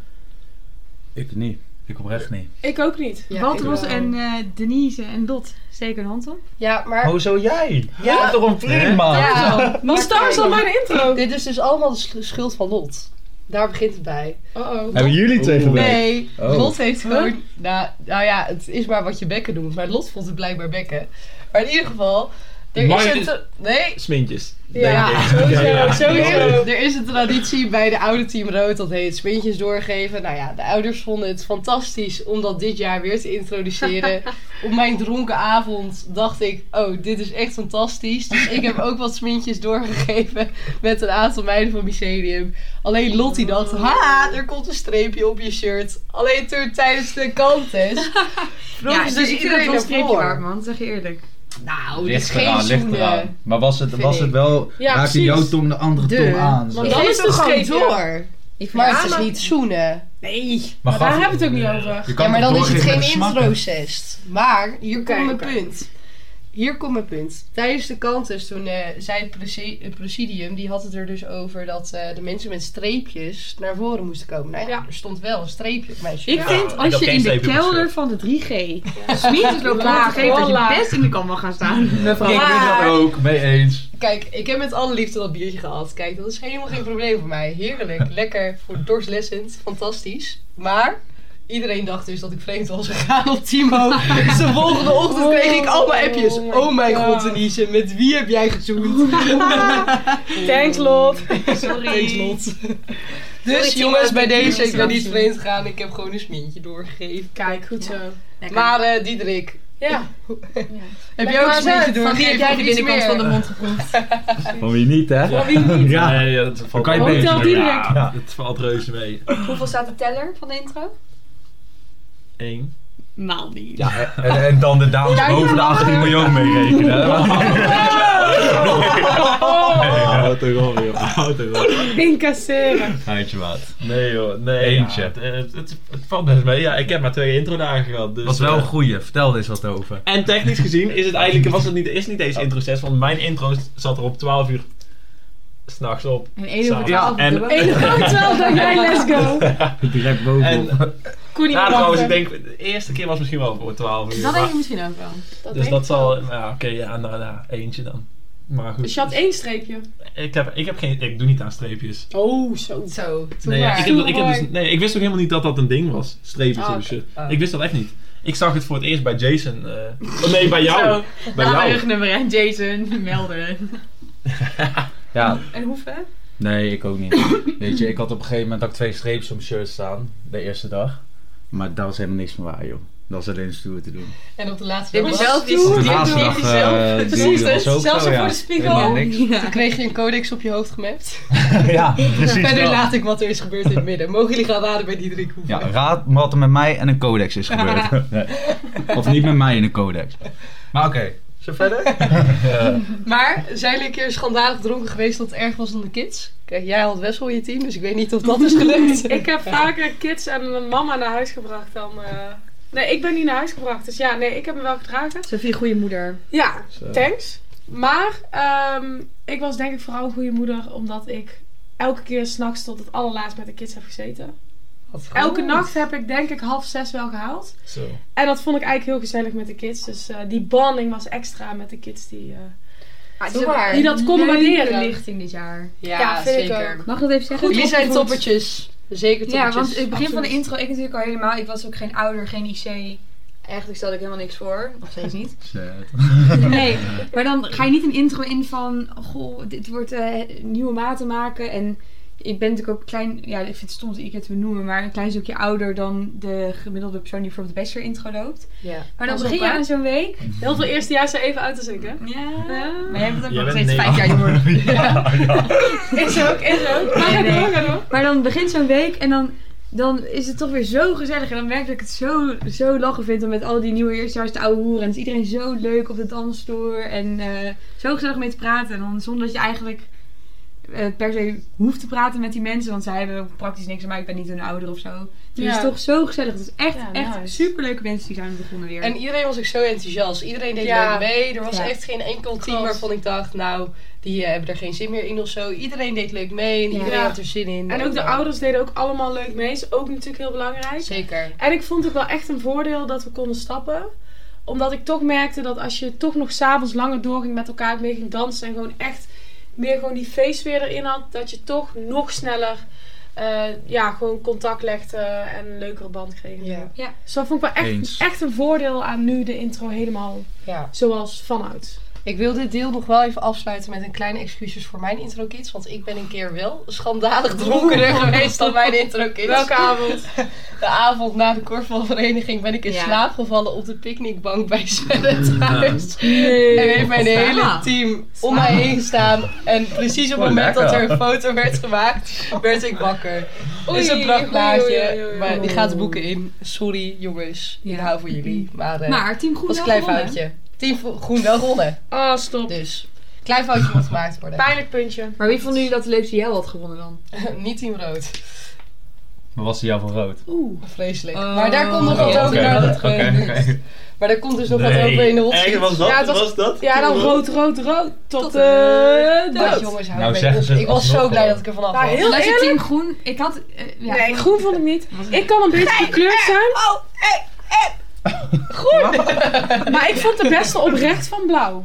[SPEAKER 4] Ik niet. Ik oprecht niet.
[SPEAKER 1] Ik ook niet.
[SPEAKER 3] Ja,
[SPEAKER 10] Walter
[SPEAKER 3] ik
[SPEAKER 10] Bos
[SPEAKER 3] wel.
[SPEAKER 10] en eh, Denise en Dot steken een hand op.
[SPEAKER 3] Ja, maar...
[SPEAKER 2] Oh,
[SPEAKER 4] Hoezo jij?
[SPEAKER 3] Ja.
[SPEAKER 4] Ja. toch een vriend, man?
[SPEAKER 3] Ja.
[SPEAKER 1] Was trouwens al bij de intro.
[SPEAKER 3] Dit is dus allemaal de sch- schuld van Lot. Daar begint het bij.
[SPEAKER 1] Oh oh.
[SPEAKER 4] Hebben jullie twee
[SPEAKER 2] Oeh.
[SPEAKER 4] gewerkt?
[SPEAKER 3] Nee,
[SPEAKER 4] Oh.
[SPEAKER 3] Lot heeft gewoon... Nou, nou ja, het is maar wat je bekken doet. Maar Lot vond het blijkbaar bekken. Maar in ieder geval... Er
[SPEAKER 2] Maar
[SPEAKER 3] is
[SPEAKER 2] dit-
[SPEAKER 3] een... tra- Nee,
[SPEAKER 2] Smintjes.
[SPEAKER 1] Ja,
[SPEAKER 2] denk ik.
[SPEAKER 1] sowieso, sowieso.
[SPEAKER 3] er is een traditie bij de oude Team Rood. Dat heet spintjes doorgeven. Nou ja, de ouders vonden het fantastisch om dat dit jaar weer te introduceren. Op mijn dronken avond dacht ik... Oh, dit is echt fantastisch. Dus ik heb ook wat spintjes doorgegeven met een aantal meiden van Mycelium. Alleen Lottie dacht... Ha, er komt een streepje op je shirt. Alleen toen tijdens de kanttest...
[SPEAKER 10] Ja,
[SPEAKER 3] vroegen
[SPEAKER 10] dus
[SPEAKER 3] ze
[SPEAKER 10] iedereen was een streepje
[SPEAKER 3] ervoor.
[SPEAKER 10] waard, man. Zeg je eerlijk.
[SPEAKER 3] Nou, dit
[SPEAKER 4] Ligt
[SPEAKER 3] is geen
[SPEAKER 4] eraan, Ah, ligt
[SPEAKER 3] zoenen.
[SPEAKER 4] eraan. Maar was het,
[SPEAKER 3] Vind
[SPEAKER 4] was het
[SPEAKER 3] ik.
[SPEAKER 4] wel...
[SPEAKER 1] eh, Ja,
[SPEAKER 4] raakte
[SPEAKER 1] precies.
[SPEAKER 4] jouw tong de andere
[SPEAKER 3] De-
[SPEAKER 4] tong aan? zo?
[SPEAKER 1] Want-
[SPEAKER 3] Ik
[SPEAKER 1] Dan
[SPEAKER 3] geef
[SPEAKER 1] is het
[SPEAKER 3] hem gewoon
[SPEAKER 1] streepje.
[SPEAKER 3] door. Maar het is
[SPEAKER 1] aanmaak-
[SPEAKER 3] niet zoenen.
[SPEAKER 1] Nee,
[SPEAKER 4] Maar gaf-
[SPEAKER 1] maar daar hebben we het ook niet over.
[SPEAKER 4] Je kan
[SPEAKER 3] Ja, maar
[SPEAKER 4] toch
[SPEAKER 3] dan is het
[SPEAKER 4] doorgeven
[SPEAKER 3] geen
[SPEAKER 4] met smakken?
[SPEAKER 3] introcest. Maar hier
[SPEAKER 1] Oké,
[SPEAKER 3] komt mijn
[SPEAKER 1] oké.
[SPEAKER 3] punt. Hier komt mijn punt. Tijdens de kantus, toen eh, zei het presi- het presidium, die had het er dus over dat eh, de mensen met streepjes naar voren moesten komen. Nou ja,
[SPEAKER 1] Ja.
[SPEAKER 3] er stond wel een streepje op mijn shirt.
[SPEAKER 10] Ik vind
[SPEAKER 2] ik
[SPEAKER 10] als
[SPEAKER 2] heb
[SPEAKER 10] je
[SPEAKER 2] geen
[SPEAKER 10] in de
[SPEAKER 2] streepje op mijn
[SPEAKER 10] kelder
[SPEAKER 2] shirt.
[SPEAKER 10] van de 3G smietjes loopt
[SPEAKER 1] Laag,
[SPEAKER 10] laag, geeft dat je
[SPEAKER 1] gewoon laag.
[SPEAKER 10] best in de kan mag gaan staan.
[SPEAKER 4] Ik ben dat ook, mee eens.
[SPEAKER 3] Kijk, ik heb met alle liefde dat biertje gehad. Kijk, dat is helemaal geen probleem voor mij. Heerlijk, lekker, voor dorstlessend, fantastisch. Maar iedereen dacht dus dat ik vreemd was gegaan op Timo. Dus de volgende ochtend kreeg ik allemaal appjes. Oh mijn god, Denise, met wie heb jij gezoend?
[SPEAKER 1] Thanks, Lot.
[SPEAKER 3] Sorry. Dus jongens, bij deze, ik ben niet vreemd gegaan. Ik heb gewoon een smintje doorgegeven.
[SPEAKER 1] Kijk, goed zo.
[SPEAKER 3] Maar eh Diederik,
[SPEAKER 1] Ja.
[SPEAKER 3] heb jij ook een smintje doorgegeven?
[SPEAKER 10] Van wie heb jij de
[SPEAKER 3] Of iets
[SPEAKER 10] binnenkant van de
[SPEAKER 3] meer?
[SPEAKER 10] mond geproefd?
[SPEAKER 4] Van wie niet, hè?
[SPEAKER 2] Ja.
[SPEAKER 4] Ja.
[SPEAKER 2] Nee, ja, dat valt
[SPEAKER 4] kan je
[SPEAKER 2] wel
[SPEAKER 4] beter
[SPEAKER 2] reuze mee.
[SPEAKER 1] doen.
[SPEAKER 2] Ja,
[SPEAKER 4] Ja.
[SPEAKER 2] dat valt reuze mee.
[SPEAKER 7] Hoeveel staat de teller van de intro?
[SPEAKER 2] Eén.
[SPEAKER 10] Nou niet.
[SPEAKER 4] En, en dan de dames boven de 18 miljoen meerekenen. hè?
[SPEAKER 2] Houd toch op, joh. Houd toch op.
[SPEAKER 1] Incasseren.
[SPEAKER 4] Handje maat.
[SPEAKER 2] Nee, joh. Nee,
[SPEAKER 4] Eentje.
[SPEAKER 2] ja, het, het, het, het valt best mee. Ja, ik heb maar twee introdagen gehad. Dus,
[SPEAKER 4] Was wel een
[SPEAKER 2] eh,
[SPEAKER 4] goeie. Vertel er eens wat over.
[SPEAKER 2] En technisch gezien is het eigenlijk, was het niet, is niet eens intro-6, want mijn intro zat er op 12 uur s'nachts op.
[SPEAKER 10] En één over
[SPEAKER 2] Ja,
[SPEAKER 10] twaalf.
[SPEAKER 2] en-
[SPEAKER 10] dubbel.
[SPEAKER 1] Eén groot wel dan jij, let's go.
[SPEAKER 4] Direct boven.
[SPEAKER 2] En
[SPEAKER 1] Koenie
[SPEAKER 2] ja,
[SPEAKER 1] wachten.
[SPEAKER 2] trouwens, ik denk, de eerste keer was misschien wel voor 12
[SPEAKER 10] Dat
[SPEAKER 2] uur. maar-
[SPEAKER 10] denk ik misschien ook wel.
[SPEAKER 1] Dat
[SPEAKER 2] dus
[SPEAKER 1] denk
[SPEAKER 2] dat
[SPEAKER 1] ik wel.
[SPEAKER 2] zal, ja, oké, ja, nou, nou, eentje dan. Maar goed,
[SPEAKER 1] Dus je had één streepje.
[SPEAKER 2] ik, heb, ik heb geen, ik doe niet aan streepjes.
[SPEAKER 1] Oh, zo.
[SPEAKER 3] Zo, toen
[SPEAKER 2] Nee, Nou ja,
[SPEAKER 3] maar.
[SPEAKER 2] ik, heb, ik, heb dus, nee, ik wist ook helemaal niet dat dat een ding was. Streepjes
[SPEAKER 1] Ah,
[SPEAKER 2] en
[SPEAKER 1] oké.
[SPEAKER 2] shit.
[SPEAKER 3] Ah.
[SPEAKER 2] Ik wist dat echt niet. Ik zag het voor het eerst bij Jason. eh, oh, nee, bij jou.
[SPEAKER 10] Zo.
[SPEAKER 2] Bij
[SPEAKER 10] Laat mijn
[SPEAKER 2] jou.
[SPEAKER 10] rugnummer en Jason melden.
[SPEAKER 4] Ja,
[SPEAKER 7] En hoeveel?
[SPEAKER 4] nee, ik ook niet. Weet je, ik had op een gegeven moment ook twee streepjes om shirt staan. De eerste dag. Maar daar was helemaal niks van waar, joh. Dat was alleen stoer te doen.
[SPEAKER 3] En op de laatste
[SPEAKER 7] Dit
[SPEAKER 3] dag
[SPEAKER 7] is
[SPEAKER 3] was-
[SPEAKER 7] zelf
[SPEAKER 4] Op
[SPEAKER 7] die
[SPEAKER 4] de laatste dag
[SPEAKER 3] deed hij
[SPEAKER 4] eh, die-
[SPEAKER 3] Precies,
[SPEAKER 4] die was
[SPEAKER 3] dus
[SPEAKER 4] ook
[SPEAKER 3] zelfs
[SPEAKER 4] zo,
[SPEAKER 3] voor
[SPEAKER 4] ja.
[SPEAKER 3] de spiegel.
[SPEAKER 4] Helemaal niks.
[SPEAKER 3] Toen kreeg je een codex op je hoofd gemapt.
[SPEAKER 4] ja, precies
[SPEAKER 3] Verder
[SPEAKER 4] dat.
[SPEAKER 3] laat ik wat er is gebeurd in het midden. Mogen jullie gaan raden bij die drie koeven?
[SPEAKER 4] Ja, raad wat er met mij en een codex is gebeurd. Nee. Of niet met mij en een codex. Maar oké.
[SPEAKER 11] Zo verder?
[SPEAKER 3] Maar zijn jullie een keer schandalig dronken geweest dat het erg was dan de kids? Kijk, jij had Wessel in je team, dus ik weet niet of dat is gelukt.
[SPEAKER 1] Ik heb vaker kids en een mama naar huis gebracht dan... eh, Nee, ik ben niet naar huis gebracht. Dus ja, nee, ik heb hem wel gedragen.
[SPEAKER 3] Sophie, goede moeder.
[SPEAKER 1] Ja, thanks. Maar ehm, ik was denk ik vooral een goede moeder. Omdat ik elke keer s'nachts tot het allerlaatst met de kids heb gezeten. Elke nacht heb ik denk ik half zes wel gehaald.
[SPEAKER 2] Zo.
[SPEAKER 1] En dat vond ik eigenlijk heel gezellig met de kids. Dus eh, die bonding was extra met de kids die, eh,
[SPEAKER 10] Maar
[SPEAKER 7] Doe maar.
[SPEAKER 1] die dat konden waarderen.
[SPEAKER 10] lichting dit jaar.
[SPEAKER 3] Ja,
[SPEAKER 1] Ja, vind ik
[SPEAKER 3] zeker.
[SPEAKER 1] ook.
[SPEAKER 10] Mag ik dat even zeggen?
[SPEAKER 3] Jullie zijn toppertjes. Zeker
[SPEAKER 7] Ja,
[SPEAKER 3] toppertjes.
[SPEAKER 7] want het begin van de
[SPEAKER 3] Absoluut.
[SPEAKER 7] intro, ik natuurlijk al helemaal. Ik was ook geen ouder, geen IC. Eigenlijk stelde ik helemaal niks voor. Nog steeds niet.
[SPEAKER 4] Dus, eh,
[SPEAKER 7] Nee, maar dan ga je niet een intro in van... Goh, dit wordt eh, nieuwe maten maken. En ik ben natuurlijk ook klein... Ja, ik vind het stom om het iedere keer te benoemen. Maar een klein stukje ouder dan de gemiddelde persoon die voor de beste intro loopt.
[SPEAKER 3] Ja.
[SPEAKER 7] Maar dan
[SPEAKER 1] Pas
[SPEAKER 7] begin
[SPEAKER 1] op,
[SPEAKER 7] je
[SPEAKER 1] hè?
[SPEAKER 7] aan zo'n week.
[SPEAKER 1] Heel veel eerstejaars zijn even uit als ik, hè?
[SPEAKER 7] Ja.
[SPEAKER 1] Ja.
[SPEAKER 7] Maar jij bent ook
[SPEAKER 2] Jij
[SPEAKER 7] nog
[SPEAKER 2] bent
[SPEAKER 7] steeds
[SPEAKER 2] negen.
[SPEAKER 7] vijf jaar jonger.
[SPEAKER 1] Is ook, is ook. Maar ga door, ga door.
[SPEAKER 7] Maar dan begint zo'n week en dan, dan is het toch weer zo gezellig. En dan merk ik dat ik het zo, zo lachen vind. om Met al die nieuwe eerstejaars, de oude hoeren. En het is iedereen zo leuk op de dansvloer. En eh, zo gezellig mee te praten. En dan zonder dat je eigenlijk eh, per se hoeft te praten met die mensen. Want zij hebben ook praktisch niks aan mij. Ik ben niet hun ouder of zo. Dus
[SPEAKER 1] Ja.
[SPEAKER 7] het is toch zo gezellig. Het is echt,
[SPEAKER 1] Ja,
[SPEAKER 7] echt
[SPEAKER 1] nice.
[SPEAKER 7] superleuke mensen die zijn begonnen weer.
[SPEAKER 3] En iedereen was ook zo enthousiast. Iedereen deed
[SPEAKER 1] Ja.
[SPEAKER 3] leuk mee. Er was
[SPEAKER 7] Ja.
[SPEAKER 3] echt geen enkel team
[SPEAKER 1] Klopt.
[SPEAKER 3] waarvan ik dacht, nou, die eh, hebben er geen zin meer in of zo. Iedereen deed leuk mee en
[SPEAKER 7] Ja.
[SPEAKER 3] iedereen
[SPEAKER 1] Ja.
[SPEAKER 3] had er zin in.
[SPEAKER 1] En ook de
[SPEAKER 3] eh,
[SPEAKER 1] ouders deden ook allemaal leuk mee. Is ook natuurlijk heel belangrijk.
[SPEAKER 3] Zeker.
[SPEAKER 1] En ik vond ook wel echt een voordeel dat we konden stappen. Omdat ik toch merkte dat als je toch nog s'avonds langer doorging met elkaar, mee ging dansen en gewoon echt meer gewoon die feestweer erin had, dat je toch nog sneller eh, ja, gewoon contact legde en een leukere band kreeg. en
[SPEAKER 3] Ja.
[SPEAKER 1] zo.
[SPEAKER 7] Ja.
[SPEAKER 1] Dus dat vond ik wel
[SPEAKER 4] Eens.
[SPEAKER 1] echt, echt een voordeel aan nu de intro helemaal
[SPEAKER 3] Ja.
[SPEAKER 1] zoals vanuit.
[SPEAKER 3] Ik wil dit deel nog wel even afsluiten met een kleine excuses voor mijn intro kids. Want ik ben een keer wel schandalig dronkener geweest dan mijn intro kids.
[SPEAKER 1] Welke avond?
[SPEAKER 3] De avond na de korfbalvereniging ben ik in
[SPEAKER 10] Ja.
[SPEAKER 3] slaap gevallen op de picknickbank bij Sven thuis. En heeft mijn
[SPEAKER 10] Sla.
[SPEAKER 3] hele team om mij heen gestaan. En precies op het
[SPEAKER 4] Oh,
[SPEAKER 3] moment dat
[SPEAKER 4] lekker.
[SPEAKER 3] er een foto werd gemaakt, werd ik wakker. Dus Het is een
[SPEAKER 1] Oei, oei, oei, oei,
[SPEAKER 3] prachtplaatje,
[SPEAKER 1] oei.
[SPEAKER 3] maar die gaat de boeken in. Sorry jongens, ik
[SPEAKER 7] Ja.
[SPEAKER 3] hou voor jullie. Maar eh,
[SPEAKER 7] maar Team
[SPEAKER 3] was
[SPEAKER 7] Groen
[SPEAKER 3] een
[SPEAKER 7] wel
[SPEAKER 3] klein
[SPEAKER 7] gewonnen.
[SPEAKER 3] foutje. Team Vo- Groen wel gewonnen,
[SPEAKER 1] Oh, stop.
[SPEAKER 3] dus... Klein foutje moet gemaakt worden.
[SPEAKER 1] Pijnlijk puntje.
[SPEAKER 10] Maar wie vond jullie dat de leukste jij had gewonnen dan?
[SPEAKER 3] Niet team rood.
[SPEAKER 4] Maar was hij jou van rood?
[SPEAKER 3] Vreselijk.
[SPEAKER 10] Oh.
[SPEAKER 3] maar daar komt nog
[SPEAKER 10] Oké,
[SPEAKER 3] wat over. naar dat
[SPEAKER 4] oké,
[SPEAKER 3] gebeurt.
[SPEAKER 4] oké.
[SPEAKER 3] Maar daar komt dus nog wat over in de hot
[SPEAKER 2] echt,
[SPEAKER 3] seat.
[SPEAKER 2] was dat?
[SPEAKER 1] Ja, het was-
[SPEAKER 2] was, dat?
[SPEAKER 1] Ja, dan rood, rood, rood. Tot,
[SPEAKER 7] Tot,
[SPEAKER 1] eh,
[SPEAKER 7] eh,
[SPEAKER 1] dood.
[SPEAKER 3] Dat jongens, hou
[SPEAKER 4] Nou,
[SPEAKER 3] mee
[SPEAKER 4] zeggen
[SPEAKER 3] op.
[SPEAKER 4] ze het
[SPEAKER 3] Ik was
[SPEAKER 4] alsnog
[SPEAKER 3] zo blij
[SPEAKER 4] wel.
[SPEAKER 3] dat ik er vanaf
[SPEAKER 1] Ja,
[SPEAKER 3] was.
[SPEAKER 1] heel
[SPEAKER 7] Luister,
[SPEAKER 1] eerlijk.
[SPEAKER 7] Team Groen, ik had... eh, ja,
[SPEAKER 1] Nee, groen vond ik niet. Ik kan een beetje gekleurd zijn.
[SPEAKER 3] Oh, eh,
[SPEAKER 1] Maar ik vond de beste oprecht van blauw.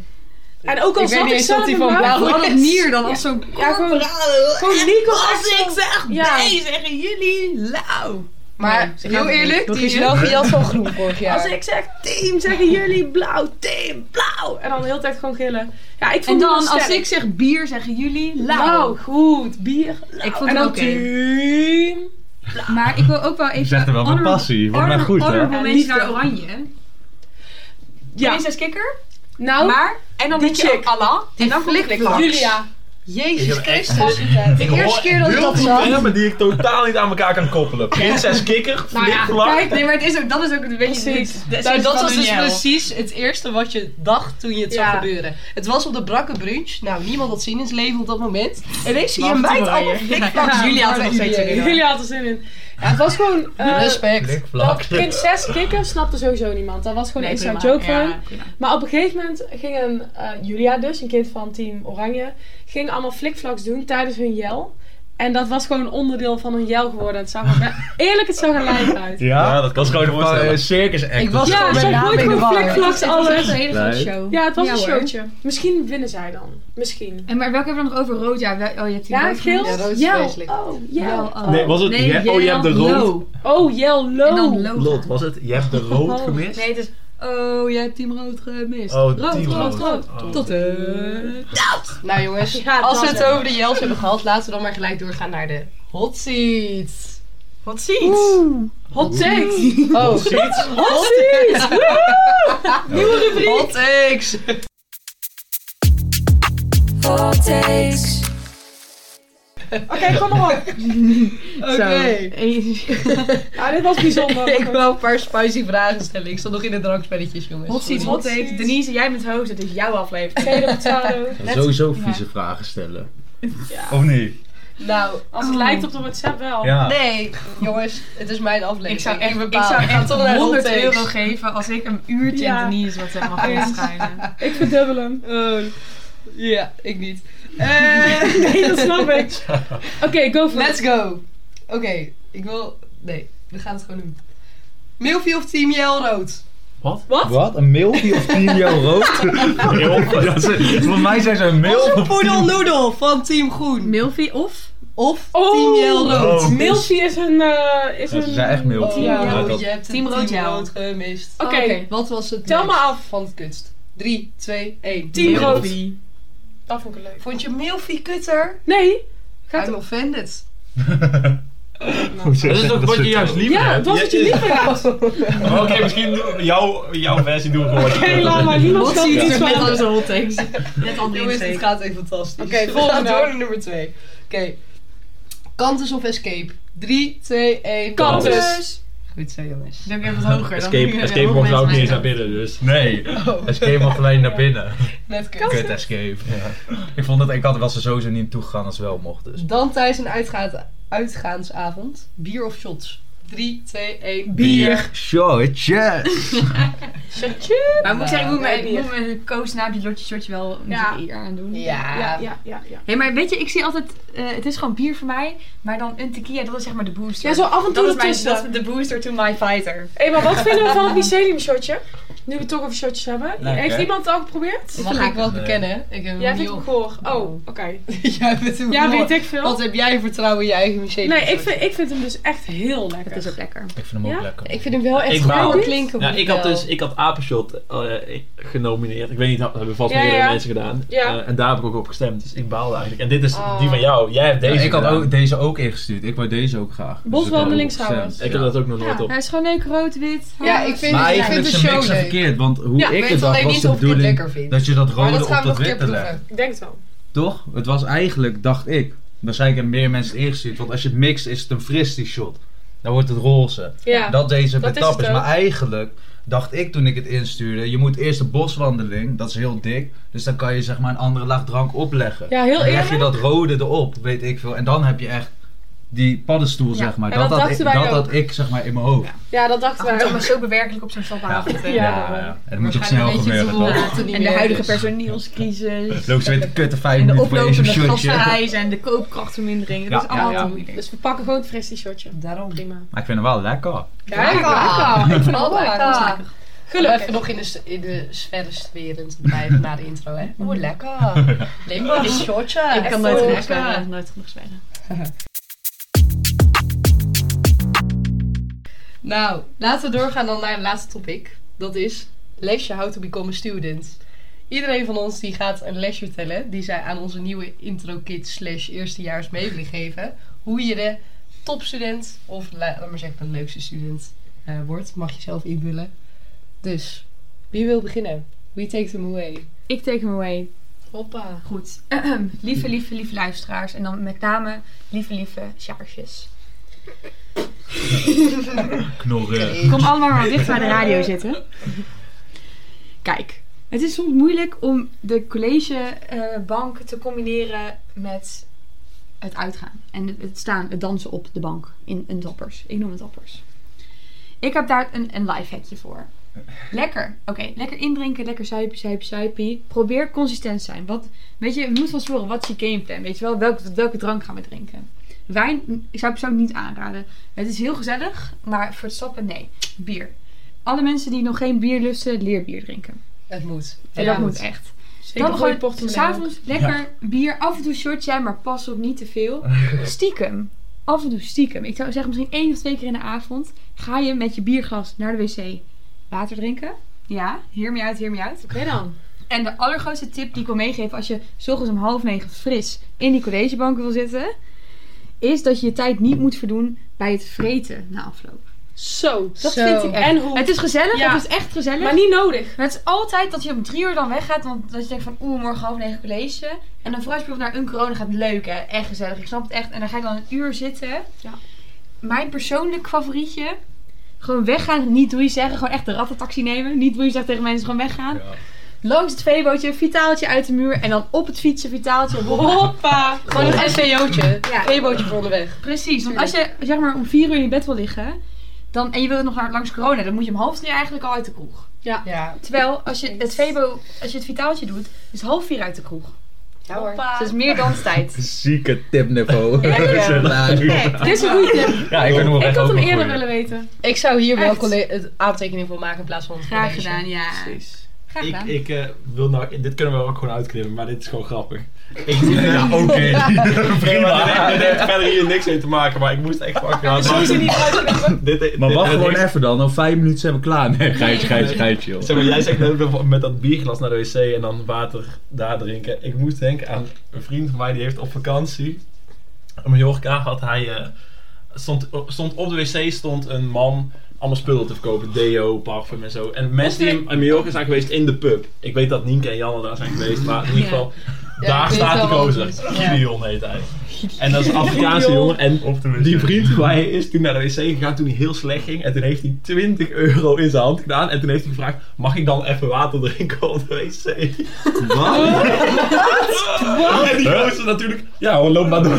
[SPEAKER 1] En ook al
[SPEAKER 3] Ik weet
[SPEAKER 1] zat
[SPEAKER 3] niet
[SPEAKER 1] ik
[SPEAKER 3] eens
[SPEAKER 1] zelf
[SPEAKER 3] of die
[SPEAKER 1] in
[SPEAKER 3] van blauw
[SPEAKER 7] Wat een nier dan als zo'n...
[SPEAKER 1] Ja, gewoon, gewoon Nico echt zo- Ja.
[SPEAKER 3] zeggen jullie lauw. Maar
[SPEAKER 10] Nee, ze gaan
[SPEAKER 3] heel
[SPEAKER 10] er niet.
[SPEAKER 3] eerlijk,
[SPEAKER 10] Nog
[SPEAKER 3] die is
[SPEAKER 10] één?
[SPEAKER 3] wel gejat van groen vorig jaar.
[SPEAKER 1] Als ik zeg team, zeggen jullie blauw, team, blauw. En dan de hele tijd gewoon gillen. Ja, ik
[SPEAKER 7] En
[SPEAKER 1] vond die
[SPEAKER 7] dan
[SPEAKER 1] wel
[SPEAKER 7] als
[SPEAKER 1] sterk.
[SPEAKER 7] ik zeg bier, zeggen jullie lauw.
[SPEAKER 1] blauw, goed, bier, blauw.
[SPEAKER 7] Ik vond
[SPEAKER 1] en
[SPEAKER 7] het
[SPEAKER 1] dan
[SPEAKER 7] oké.
[SPEAKER 1] team.
[SPEAKER 7] Maar ik wil ook wel even...
[SPEAKER 4] Zegt er wel met
[SPEAKER 7] honorable-
[SPEAKER 4] passie. Wordt mij
[SPEAKER 7] honor-
[SPEAKER 4] goed, hè?
[SPEAKER 7] honorable
[SPEAKER 1] Ja,
[SPEAKER 7] mention naar
[SPEAKER 1] liefde.
[SPEAKER 7] Oranje.
[SPEAKER 1] Ja,
[SPEAKER 7] Prinses Kikker.
[SPEAKER 1] nou,
[SPEAKER 7] Maar, en dan
[SPEAKER 1] die
[SPEAKER 7] denk je
[SPEAKER 1] chick.
[SPEAKER 7] ook Allah. En dan kom ik
[SPEAKER 1] Julia.
[SPEAKER 3] Jezus
[SPEAKER 2] Ik heb echt-
[SPEAKER 3] Christus. De eerste keer dat ik
[SPEAKER 11] heel
[SPEAKER 3] dat
[SPEAKER 11] veel
[SPEAKER 3] zag.
[SPEAKER 11] termen die ik totaal niet aan elkaar kan koppelen. Prinses Kikker,
[SPEAKER 10] Nou ja,
[SPEAKER 11] flikvlak.
[SPEAKER 10] kijk, nee, maar het is ook, dat is ook een beetje
[SPEAKER 1] Precies.
[SPEAKER 10] dit-
[SPEAKER 3] Nou,
[SPEAKER 10] dit
[SPEAKER 3] dat
[SPEAKER 10] van
[SPEAKER 3] was
[SPEAKER 10] een
[SPEAKER 3] dus
[SPEAKER 10] jel.
[SPEAKER 3] precies het eerste wat je dacht toen je het
[SPEAKER 10] Ja.
[SPEAKER 3] zag gebeuren. Het was op de brakke brunch. Nou, niemand had zin in zijn leven op dat moment. En ineens zie je
[SPEAKER 10] Wacht,
[SPEAKER 3] een meid
[SPEAKER 10] Brian.
[SPEAKER 3] allemaal flikvlaks.
[SPEAKER 10] Ja,
[SPEAKER 3] Jullie hadden nog
[SPEAKER 10] Brian.
[SPEAKER 3] steeds zin in, hoor.
[SPEAKER 1] Jullie hadden er zin in. Ja, het was gewoon... eh,
[SPEAKER 3] Respect.
[SPEAKER 1] dat prinses kikker snapte sowieso niemand. Dat was gewoon een inside
[SPEAKER 10] prima.
[SPEAKER 1] joke van hem.
[SPEAKER 10] Ja, prima.
[SPEAKER 1] Maar op een gegeven moment ging een, eh, Julia dus, een kind van Team Oranje, ging allemaal flikflaks doen tijdens hun jel. En dat was gewoon onderdeel van hun jel geworden. Het zag er be- eerlijk, het zag er lijf uit.
[SPEAKER 11] Ja, dat kan ik me voorstellen.
[SPEAKER 4] circus act.
[SPEAKER 3] Ik was
[SPEAKER 1] Ja,
[SPEAKER 3] gewoon
[SPEAKER 1] ze
[SPEAKER 3] met naam
[SPEAKER 1] gooit
[SPEAKER 3] in de
[SPEAKER 1] gewoon
[SPEAKER 3] war.
[SPEAKER 1] flikvlaks
[SPEAKER 7] Het was echt een
[SPEAKER 1] alles.
[SPEAKER 7] hele grote
[SPEAKER 4] Nee.
[SPEAKER 7] show.
[SPEAKER 1] Ja, het was
[SPEAKER 7] Ja,
[SPEAKER 1] een
[SPEAKER 7] hoor.
[SPEAKER 1] showtje. Misschien winnen zij dan. Misschien.
[SPEAKER 7] En maar welke hebben we nog over? Rood, ja. wel- oh, je hebt die
[SPEAKER 1] Ja,
[SPEAKER 7] rood genoemd.
[SPEAKER 1] geel.
[SPEAKER 3] Ja, dat is
[SPEAKER 7] Jel.
[SPEAKER 3] vreselijk.
[SPEAKER 1] Oh, jel.
[SPEAKER 7] Jel, oh.
[SPEAKER 11] Nee, was het- je- oh, je hebt de
[SPEAKER 7] jel,
[SPEAKER 11] rood.
[SPEAKER 7] lo.
[SPEAKER 1] Oh, jel,
[SPEAKER 7] En dan
[SPEAKER 1] low.
[SPEAKER 7] lo.
[SPEAKER 11] Lot, was het? Je hebt de rood gemist?
[SPEAKER 7] Nee, het is...
[SPEAKER 3] Oh, jij hebt team rood gemist.
[SPEAKER 11] Oh,
[SPEAKER 3] rood,
[SPEAKER 11] Team
[SPEAKER 3] rood,
[SPEAKER 11] Rood.
[SPEAKER 3] rood.
[SPEAKER 11] Oh.
[SPEAKER 3] Tot de... Nou jongens, als we het over de Jels hebben gehad, laten we dan maar gelijk doorgaan naar de hot seats.
[SPEAKER 10] Wat ziet?
[SPEAKER 1] Hot takes.
[SPEAKER 3] Oh, hot
[SPEAKER 11] Zoiets.
[SPEAKER 3] seats! Nieuwe rubriek! Hot takes!
[SPEAKER 5] Hot takes.
[SPEAKER 1] Oké, kom maar op.
[SPEAKER 3] Oké.
[SPEAKER 1] Ja, dit was bijzonder.
[SPEAKER 3] Ik wil een paar spicy vragen stellen. Ik zat nog in de drankspelletjes, jongens.
[SPEAKER 10] Hot seats, hot takes. Denise, jij bent host, het is jouw aflevering.
[SPEAKER 1] Tweede potato.
[SPEAKER 4] Sowieso vieze vragen stellen. Of niet?
[SPEAKER 3] Nou,
[SPEAKER 1] Als
[SPEAKER 10] Oh.
[SPEAKER 1] het lijkt op de WhatsApp wel.
[SPEAKER 11] Ja.
[SPEAKER 3] nee, jongens, het is mijn aflevering.
[SPEAKER 10] Ik zou echt, ik
[SPEAKER 3] bepaal.
[SPEAKER 10] zou
[SPEAKER 3] ga
[SPEAKER 10] echt
[SPEAKER 3] toch naar de hot
[SPEAKER 10] 100
[SPEAKER 3] takes.
[SPEAKER 10] euro geven als ik een uurtje
[SPEAKER 1] Ja.
[SPEAKER 10] in Denise wat heb mag inschrijven.
[SPEAKER 1] Ik verdubbel hem.
[SPEAKER 3] Oh, ja, ik niet.
[SPEAKER 1] Nee, dat snap ik. Oké, go for it.
[SPEAKER 3] Let's go. Oké, ik wil... Nee, we gaan het gewoon doen. Milfie of Team Jel Rood?
[SPEAKER 4] Wat? Een milky of Pinio rood? Dat is- Voor mij zijn ze een milky.
[SPEAKER 3] Poedel Noedel van Team Groen.
[SPEAKER 10] Milfie of?
[SPEAKER 3] Of
[SPEAKER 1] Oh.
[SPEAKER 3] Team Jel Rood.
[SPEAKER 11] Oh.
[SPEAKER 1] Milfie is een... eh, is
[SPEAKER 4] Ja,
[SPEAKER 1] een...
[SPEAKER 4] ze zijn echt milky.
[SPEAKER 3] Oh,
[SPEAKER 1] Ja.
[SPEAKER 4] Maar dat-
[SPEAKER 3] je hebt
[SPEAKER 10] Team
[SPEAKER 3] Team
[SPEAKER 10] Rood
[SPEAKER 3] Rood, team
[SPEAKER 10] Jel.
[SPEAKER 3] rood gemist.
[SPEAKER 1] Oké,
[SPEAKER 10] Oké.
[SPEAKER 3] Wat was het
[SPEAKER 1] tel
[SPEAKER 3] meest
[SPEAKER 1] maar af.
[SPEAKER 3] van het kutst? 3, 2, 1.
[SPEAKER 1] Team rood.
[SPEAKER 10] Milfie.
[SPEAKER 1] Dat vond ik leuk.
[SPEAKER 3] Vond je Milfie kutter?
[SPEAKER 1] Nee. Gaat
[SPEAKER 3] I'm offended.
[SPEAKER 2] Dat is ook wat je juist liever
[SPEAKER 1] Ja, het
[SPEAKER 2] hebt.
[SPEAKER 1] was het je liever had.
[SPEAKER 2] Maar Oké, misschien doen- jouw, jouw versie doen we gewoon. wat je
[SPEAKER 1] Oké,
[SPEAKER 2] wilt.
[SPEAKER 1] laat maar. Niemand snapt er
[SPEAKER 3] ziet
[SPEAKER 1] iets
[SPEAKER 3] er
[SPEAKER 1] van.
[SPEAKER 3] minder-
[SPEAKER 10] de hot takes. Net al
[SPEAKER 3] Jongens, dit
[SPEAKER 10] die
[SPEAKER 3] gaat echt fantastisch.
[SPEAKER 1] Oké,
[SPEAKER 3] We
[SPEAKER 1] volgende.
[SPEAKER 3] gaan door naar nummer 2. Oké. Kantus of escape? 3, 2, 1.
[SPEAKER 1] Kantus.
[SPEAKER 3] Goed zo, jongens.
[SPEAKER 10] Dan weer wat hoger. dan
[SPEAKER 2] Escape,
[SPEAKER 10] kunnen
[SPEAKER 2] escape
[SPEAKER 10] nog
[SPEAKER 2] mocht
[SPEAKER 10] mensen
[SPEAKER 2] ook niet eens
[SPEAKER 10] mij-
[SPEAKER 2] naar binnen, dus.
[SPEAKER 11] Nee, escape mag alleen naar binnen.
[SPEAKER 3] Net
[SPEAKER 4] Kut escape. Ik vond dat ik had was er sowieso niet toe gegaan als het wel mocht. Dus.
[SPEAKER 3] Dan tijdens een uitgaat, uitgaansavond. Bier of shots? 3, 2, 1.
[SPEAKER 4] Shotjes.
[SPEAKER 10] Maar ik moet zeggen, ik moet
[SPEAKER 1] Nee,
[SPEAKER 10] mijn- ik moet mijn koos na die lotje shotje wel een
[SPEAKER 1] Ja.
[SPEAKER 10] eer aan doen.
[SPEAKER 3] Ja.
[SPEAKER 1] Ja, ja, ja. ja.
[SPEAKER 10] Hé, maar weet je, ik zie altijd, eh, het is gewoon bier voor mij, maar dan een tequila, dat is zeg maar de booster.
[SPEAKER 1] Ja, zo af en toe
[SPEAKER 10] dat is mijn,
[SPEAKER 1] ertussen.
[SPEAKER 10] dat, is de booster to my fighter.
[SPEAKER 1] Hé, maar wat vinden we van het mycelium shotje? Nu we het toch over shotjes hebben.
[SPEAKER 4] Lekker.
[SPEAKER 1] Heeft iemand het al geprobeerd?
[SPEAKER 3] Mag ik wel
[SPEAKER 4] Nee.
[SPEAKER 3] bekennen? Ik heb
[SPEAKER 1] Jij
[SPEAKER 3] hem
[SPEAKER 1] vindt
[SPEAKER 3] niet
[SPEAKER 1] het
[SPEAKER 3] op.
[SPEAKER 1] goor. Oh, oké.
[SPEAKER 3] Jij bent hem
[SPEAKER 1] Ja,
[SPEAKER 3] gehoord.
[SPEAKER 1] weet ik veel.
[SPEAKER 3] Wat heb jij vertrouwen in je eigen museum?
[SPEAKER 1] Nee, ik vind, ik vind hem dus echt heel
[SPEAKER 10] Dat
[SPEAKER 1] lekker.
[SPEAKER 10] is ook lekker.
[SPEAKER 4] Ik vind hem ook
[SPEAKER 1] Ja?
[SPEAKER 4] lekker.
[SPEAKER 3] Ik vind hem wel echt
[SPEAKER 2] Ik
[SPEAKER 3] goed
[SPEAKER 2] wou-
[SPEAKER 3] klinken.
[SPEAKER 2] Ja,
[SPEAKER 3] moet
[SPEAKER 2] ik had
[SPEAKER 3] wel.
[SPEAKER 2] dus ik had Apenshot eh, ik- genomineerd. Ik weet niet, dat hebben vast
[SPEAKER 1] Ja,
[SPEAKER 2] meerdere
[SPEAKER 1] ja.
[SPEAKER 2] mensen gedaan.
[SPEAKER 1] Ja.
[SPEAKER 2] Eh, en daar heb ik ook op gestemd, dus ik baalde eigenlijk. En dit is die van jou. Jij hebt
[SPEAKER 4] Ja,
[SPEAKER 2] deze
[SPEAKER 4] ik had
[SPEAKER 2] gedaan.
[SPEAKER 4] ook deze ook ingestuurd. Ik wou deze ook graag. Dus
[SPEAKER 1] Boswandeling
[SPEAKER 4] ik had hem ook
[SPEAKER 1] trouwens.
[SPEAKER 2] Ik
[SPEAKER 4] gestemd.
[SPEAKER 2] heb dat ook nog nooit op.
[SPEAKER 10] Hij is gewoon leuk rood-wit.
[SPEAKER 3] Ja,
[SPEAKER 1] Ah.
[SPEAKER 3] ik vind,
[SPEAKER 4] Maar
[SPEAKER 3] ik vind
[SPEAKER 4] eigenlijk
[SPEAKER 3] de
[SPEAKER 4] is
[SPEAKER 3] show
[SPEAKER 4] niks
[SPEAKER 3] leuk.
[SPEAKER 4] verkeerd, want hoe
[SPEAKER 1] Ja,
[SPEAKER 3] ik
[SPEAKER 4] ik
[SPEAKER 3] weet
[SPEAKER 4] het had
[SPEAKER 3] alleen
[SPEAKER 4] was
[SPEAKER 3] niet
[SPEAKER 4] de
[SPEAKER 3] of ik het
[SPEAKER 4] bedoeling
[SPEAKER 3] lekker vind.
[SPEAKER 4] dat je
[SPEAKER 3] Maar
[SPEAKER 4] dat rode
[SPEAKER 3] dat gaan
[SPEAKER 4] op
[SPEAKER 3] we nog
[SPEAKER 4] dat
[SPEAKER 3] een keer
[SPEAKER 4] witte legt.
[SPEAKER 3] proeven.
[SPEAKER 1] Ik denk het wel.
[SPEAKER 4] Toch? Het was eigenlijk, dacht ik, waarschijnlijk hebben meer mensen het ingestuurd. Want als je het mixt is het een fris die shot. Dan wordt het roze.
[SPEAKER 1] Ja.
[SPEAKER 4] Dat deze
[SPEAKER 1] Dat is
[SPEAKER 4] betap
[SPEAKER 1] het
[SPEAKER 4] is.
[SPEAKER 1] ook.
[SPEAKER 4] Maar eigenlijk dacht ik toen ik het instuurde, je moet eerst de boswandeling, dat is heel dik. Dus dan kan je zeg maar een andere laag drank opleggen.
[SPEAKER 1] Ja, heel
[SPEAKER 4] dan leg je
[SPEAKER 1] eerlijk.
[SPEAKER 4] dat rode erop, weet ik veel. En dan heb je echt die paddenstoel, zeg maar.
[SPEAKER 1] en dat
[SPEAKER 4] had ik,
[SPEAKER 1] dachten wij
[SPEAKER 4] dat had
[SPEAKER 1] ook.
[SPEAKER 4] ik zeg maar in mijn hoofd.
[SPEAKER 1] Ja, dat dachten wij
[SPEAKER 10] Toch maar
[SPEAKER 1] ook.
[SPEAKER 10] zo bewerkelijk op zo'n stapavond.
[SPEAKER 4] Ja,
[SPEAKER 1] Ja.
[SPEAKER 4] ja. En het moet ook snel gebeuren, toch?
[SPEAKER 10] En de huidige personeelscrisis.
[SPEAKER 4] Loop ze weer te kutten vijf
[SPEAKER 10] En de
[SPEAKER 4] minuten voor eens een
[SPEAKER 10] oplopende
[SPEAKER 4] shotje.
[SPEAKER 10] gasprijzen en de koopkrachtvermindering. Het
[SPEAKER 4] Ja,
[SPEAKER 10] is
[SPEAKER 4] ja,
[SPEAKER 10] allemaal
[SPEAKER 4] ja.
[SPEAKER 10] te moeilijk.
[SPEAKER 1] Dus we pakken gewoon het fristie shotje.
[SPEAKER 3] Daarom.
[SPEAKER 1] Prima.
[SPEAKER 4] Maar ik vind hem wel lekker.
[SPEAKER 1] Kijk,
[SPEAKER 3] Ah,
[SPEAKER 10] Oh,
[SPEAKER 1] lekker. Ik vind het
[SPEAKER 3] wel
[SPEAKER 1] wel lekker.
[SPEAKER 3] lekker.
[SPEAKER 1] Gelukkig.
[SPEAKER 3] Even nog in de, s- in de sfeer sferen te blijven na de intro, hè? Oeh, lekker. Lekker, een shotje.
[SPEAKER 10] Ik kan nooit
[SPEAKER 3] Echt
[SPEAKER 10] genoeg
[SPEAKER 3] lekker.
[SPEAKER 10] zwemmen. Nooit genoeg zwemmen.
[SPEAKER 3] Nou, laten we doorgaan dan naar de laatste topic. Dat is lesje How to Become a Student. Iedereen van ons die gaat een lesje vertellen, die zij aan onze nieuwe intro kid slash eerstejaars mee willen geven. Hoe je de topstudent, of la- laat maar zeggen de leukste student eh, wordt, mag je zelf invullen. Dus, wie wil beginnen? Wie takes them away?
[SPEAKER 10] Ik take him away.
[SPEAKER 1] Hoppa.
[SPEAKER 7] Eh, Goed. lieve, lieve, lieve luisteraars. En dan met name lieve, lieve sjaarsjes.
[SPEAKER 11] Knorren.
[SPEAKER 7] Kom allemaal maar dicht bij de radio zitten. Kijk, het is soms moeilijk om de collegebank te combineren met het uitgaan. En het- het staan, het dansen op de bank in een dappers. Ik noem het dappers. Ik heb daar een, een lifehackje voor. Lekker. Oké, lekker indrinken, lekker suipie, suipie, suipie. Probeer consistent te zijn. Wat, weet je, je moet van tevoren, wat is je gameplan? Weet je wel, welke, welke drank gaan we drinken? Wijn, mm, ik zou persoonlijk niet aanraden. Het is heel gezellig, maar voor het stappen, nee. Bier. Alle mensen die nog geen bier lusten, leer bier drinken.
[SPEAKER 3] Het moet.
[SPEAKER 7] En dat moet echt.
[SPEAKER 1] Zeker
[SPEAKER 7] dan
[SPEAKER 1] gooi je
[SPEAKER 7] gewoon
[SPEAKER 1] portemonnee. ook.
[SPEAKER 7] s'avonds lekker bier, af en toe shortje, maar pas op niet te veel. Stiekem. Af en toe stiekem. Ik zou zeggen misschien één of twee keer in de avond ga je met je bierglas naar de wc water drinken. Ja, hear me uit, hear me uit.
[SPEAKER 1] Oké dan.
[SPEAKER 7] En de allergrootste tip die ik wil meegeven als je s ochtends om half negen fris in die collegebanken wil zitten, is dat je je tijd niet moet verdoen bij het vreten na afloop.
[SPEAKER 1] Zo. Dat
[SPEAKER 3] Zo.
[SPEAKER 1] vind ik en hoe.
[SPEAKER 7] Het is gezellig,
[SPEAKER 1] Ja.
[SPEAKER 7] het is echt gezellig.
[SPEAKER 1] maar niet nodig.
[SPEAKER 7] Maar het is altijd dat je om drie uur dan weggaat. Want dat je denkt van oeh, morgen half negen college. En dan vooruit bijvoorbeeld naar een corona gaat leuk hè. Echt gezellig. Ik snap het echt. En dan ga ik dan een uur zitten.
[SPEAKER 1] Ja.
[SPEAKER 7] Mijn persoonlijk favorietje. Gewoon weggaan. Niet doe je zeggen. Gewoon echt de rattentaxi nemen. Niet doe je zeggen tegen mensen. Gewoon weggaan. Langs het veebootje. Vitaaltje uit de muur. En dan op het fietsen. Vitaaltje.
[SPEAKER 1] Hoppa.
[SPEAKER 3] Gewoon een SVO'tje.
[SPEAKER 7] Ja.
[SPEAKER 3] Twee bootje voor onderweg.
[SPEAKER 7] Precies, want als je zeg maar om vier uur in je bed wil liggen dan, en je wil nog naar, langs corona, dan moet je om half drie eigenlijk al uit de kroeg.
[SPEAKER 3] Ja.
[SPEAKER 7] Terwijl als je het, Vebo, als je het vitaaltje doet, is het half vier uit de kroeg.
[SPEAKER 3] Ja hoor.
[SPEAKER 7] Dus dat is meer danstijd.
[SPEAKER 4] Zieke tipniveau.
[SPEAKER 1] Dit is een goede tip.
[SPEAKER 11] Ja, ik ben nog wel
[SPEAKER 1] Ik
[SPEAKER 11] echt
[SPEAKER 1] had
[SPEAKER 11] ook
[SPEAKER 1] hem
[SPEAKER 11] een
[SPEAKER 1] eerder
[SPEAKER 11] goeie.
[SPEAKER 1] willen weten.
[SPEAKER 3] Ik zou hier wel
[SPEAKER 7] Echt?
[SPEAKER 3] colle- het aantekening voor maken in plaats van het
[SPEAKER 7] Graag
[SPEAKER 3] college.
[SPEAKER 7] gedaan, ja.
[SPEAKER 2] Precies.
[SPEAKER 7] Graag
[SPEAKER 2] Ik,
[SPEAKER 7] gedaan.
[SPEAKER 2] ik eh, wil nou, dit kunnen we ook gewoon uitknippen, maar dit is gewoon grappig. Ik,
[SPEAKER 11] Ja, oké. Prima.
[SPEAKER 2] dit heeft verder hier niks mee te maken, maar ik moest echt van achteraan.
[SPEAKER 1] Sowieso niet uitknippen.
[SPEAKER 2] Dit- dit-
[SPEAKER 4] Maar
[SPEAKER 2] dit-
[SPEAKER 4] wacht
[SPEAKER 2] dit-
[SPEAKER 4] gewoon even dan. Over vijf minuten zijn we klaar. Nee, geitje, geitje, geitje, joh.
[SPEAKER 2] Zeg maar, jij zegt net met- met dat bierglas naar de wc en dan water daar drinken. Ik moest denken aan een vriend van mij die heeft op vakantie. In Mallorca had hij. eh, stond, stond op de wc stond een man allemaal spullen te verkopen. Deo, parfum en zo. En mensen die in Mallorca zijn geweest in de pub. Ik weet dat Nienke en Janne daar zijn geweest, maar in ieder geval.
[SPEAKER 3] Ja, ik
[SPEAKER 2] Daar
[SPEAKER 3] weet
[SPEAKER 2] staat
[SPEAKER 3] wel
[SPEAKER 2] die
[SPEAKER 3] wat
[SPEAKER 2] gozer.
[SPEAKER 3] het is. Ja.
[SPEAKER 2] Gideon heet hij. En dat is een Afrikaanse jongen. En
[SPEAKER 11] Op de wc.
[SPEAKER 2] die vriend van mij is toen naar de wc gegaan toen hij heel slecht ging. En toen heeft hij 20 euro in zijn hand gedaan. En toen heeft hij gevraagd, mag ik dan even water drinken op de wc?
[SPEAKER 4] Wat?
[SPEAKER 2] En die gozer natuurlijk, ja hoor, loop maar door.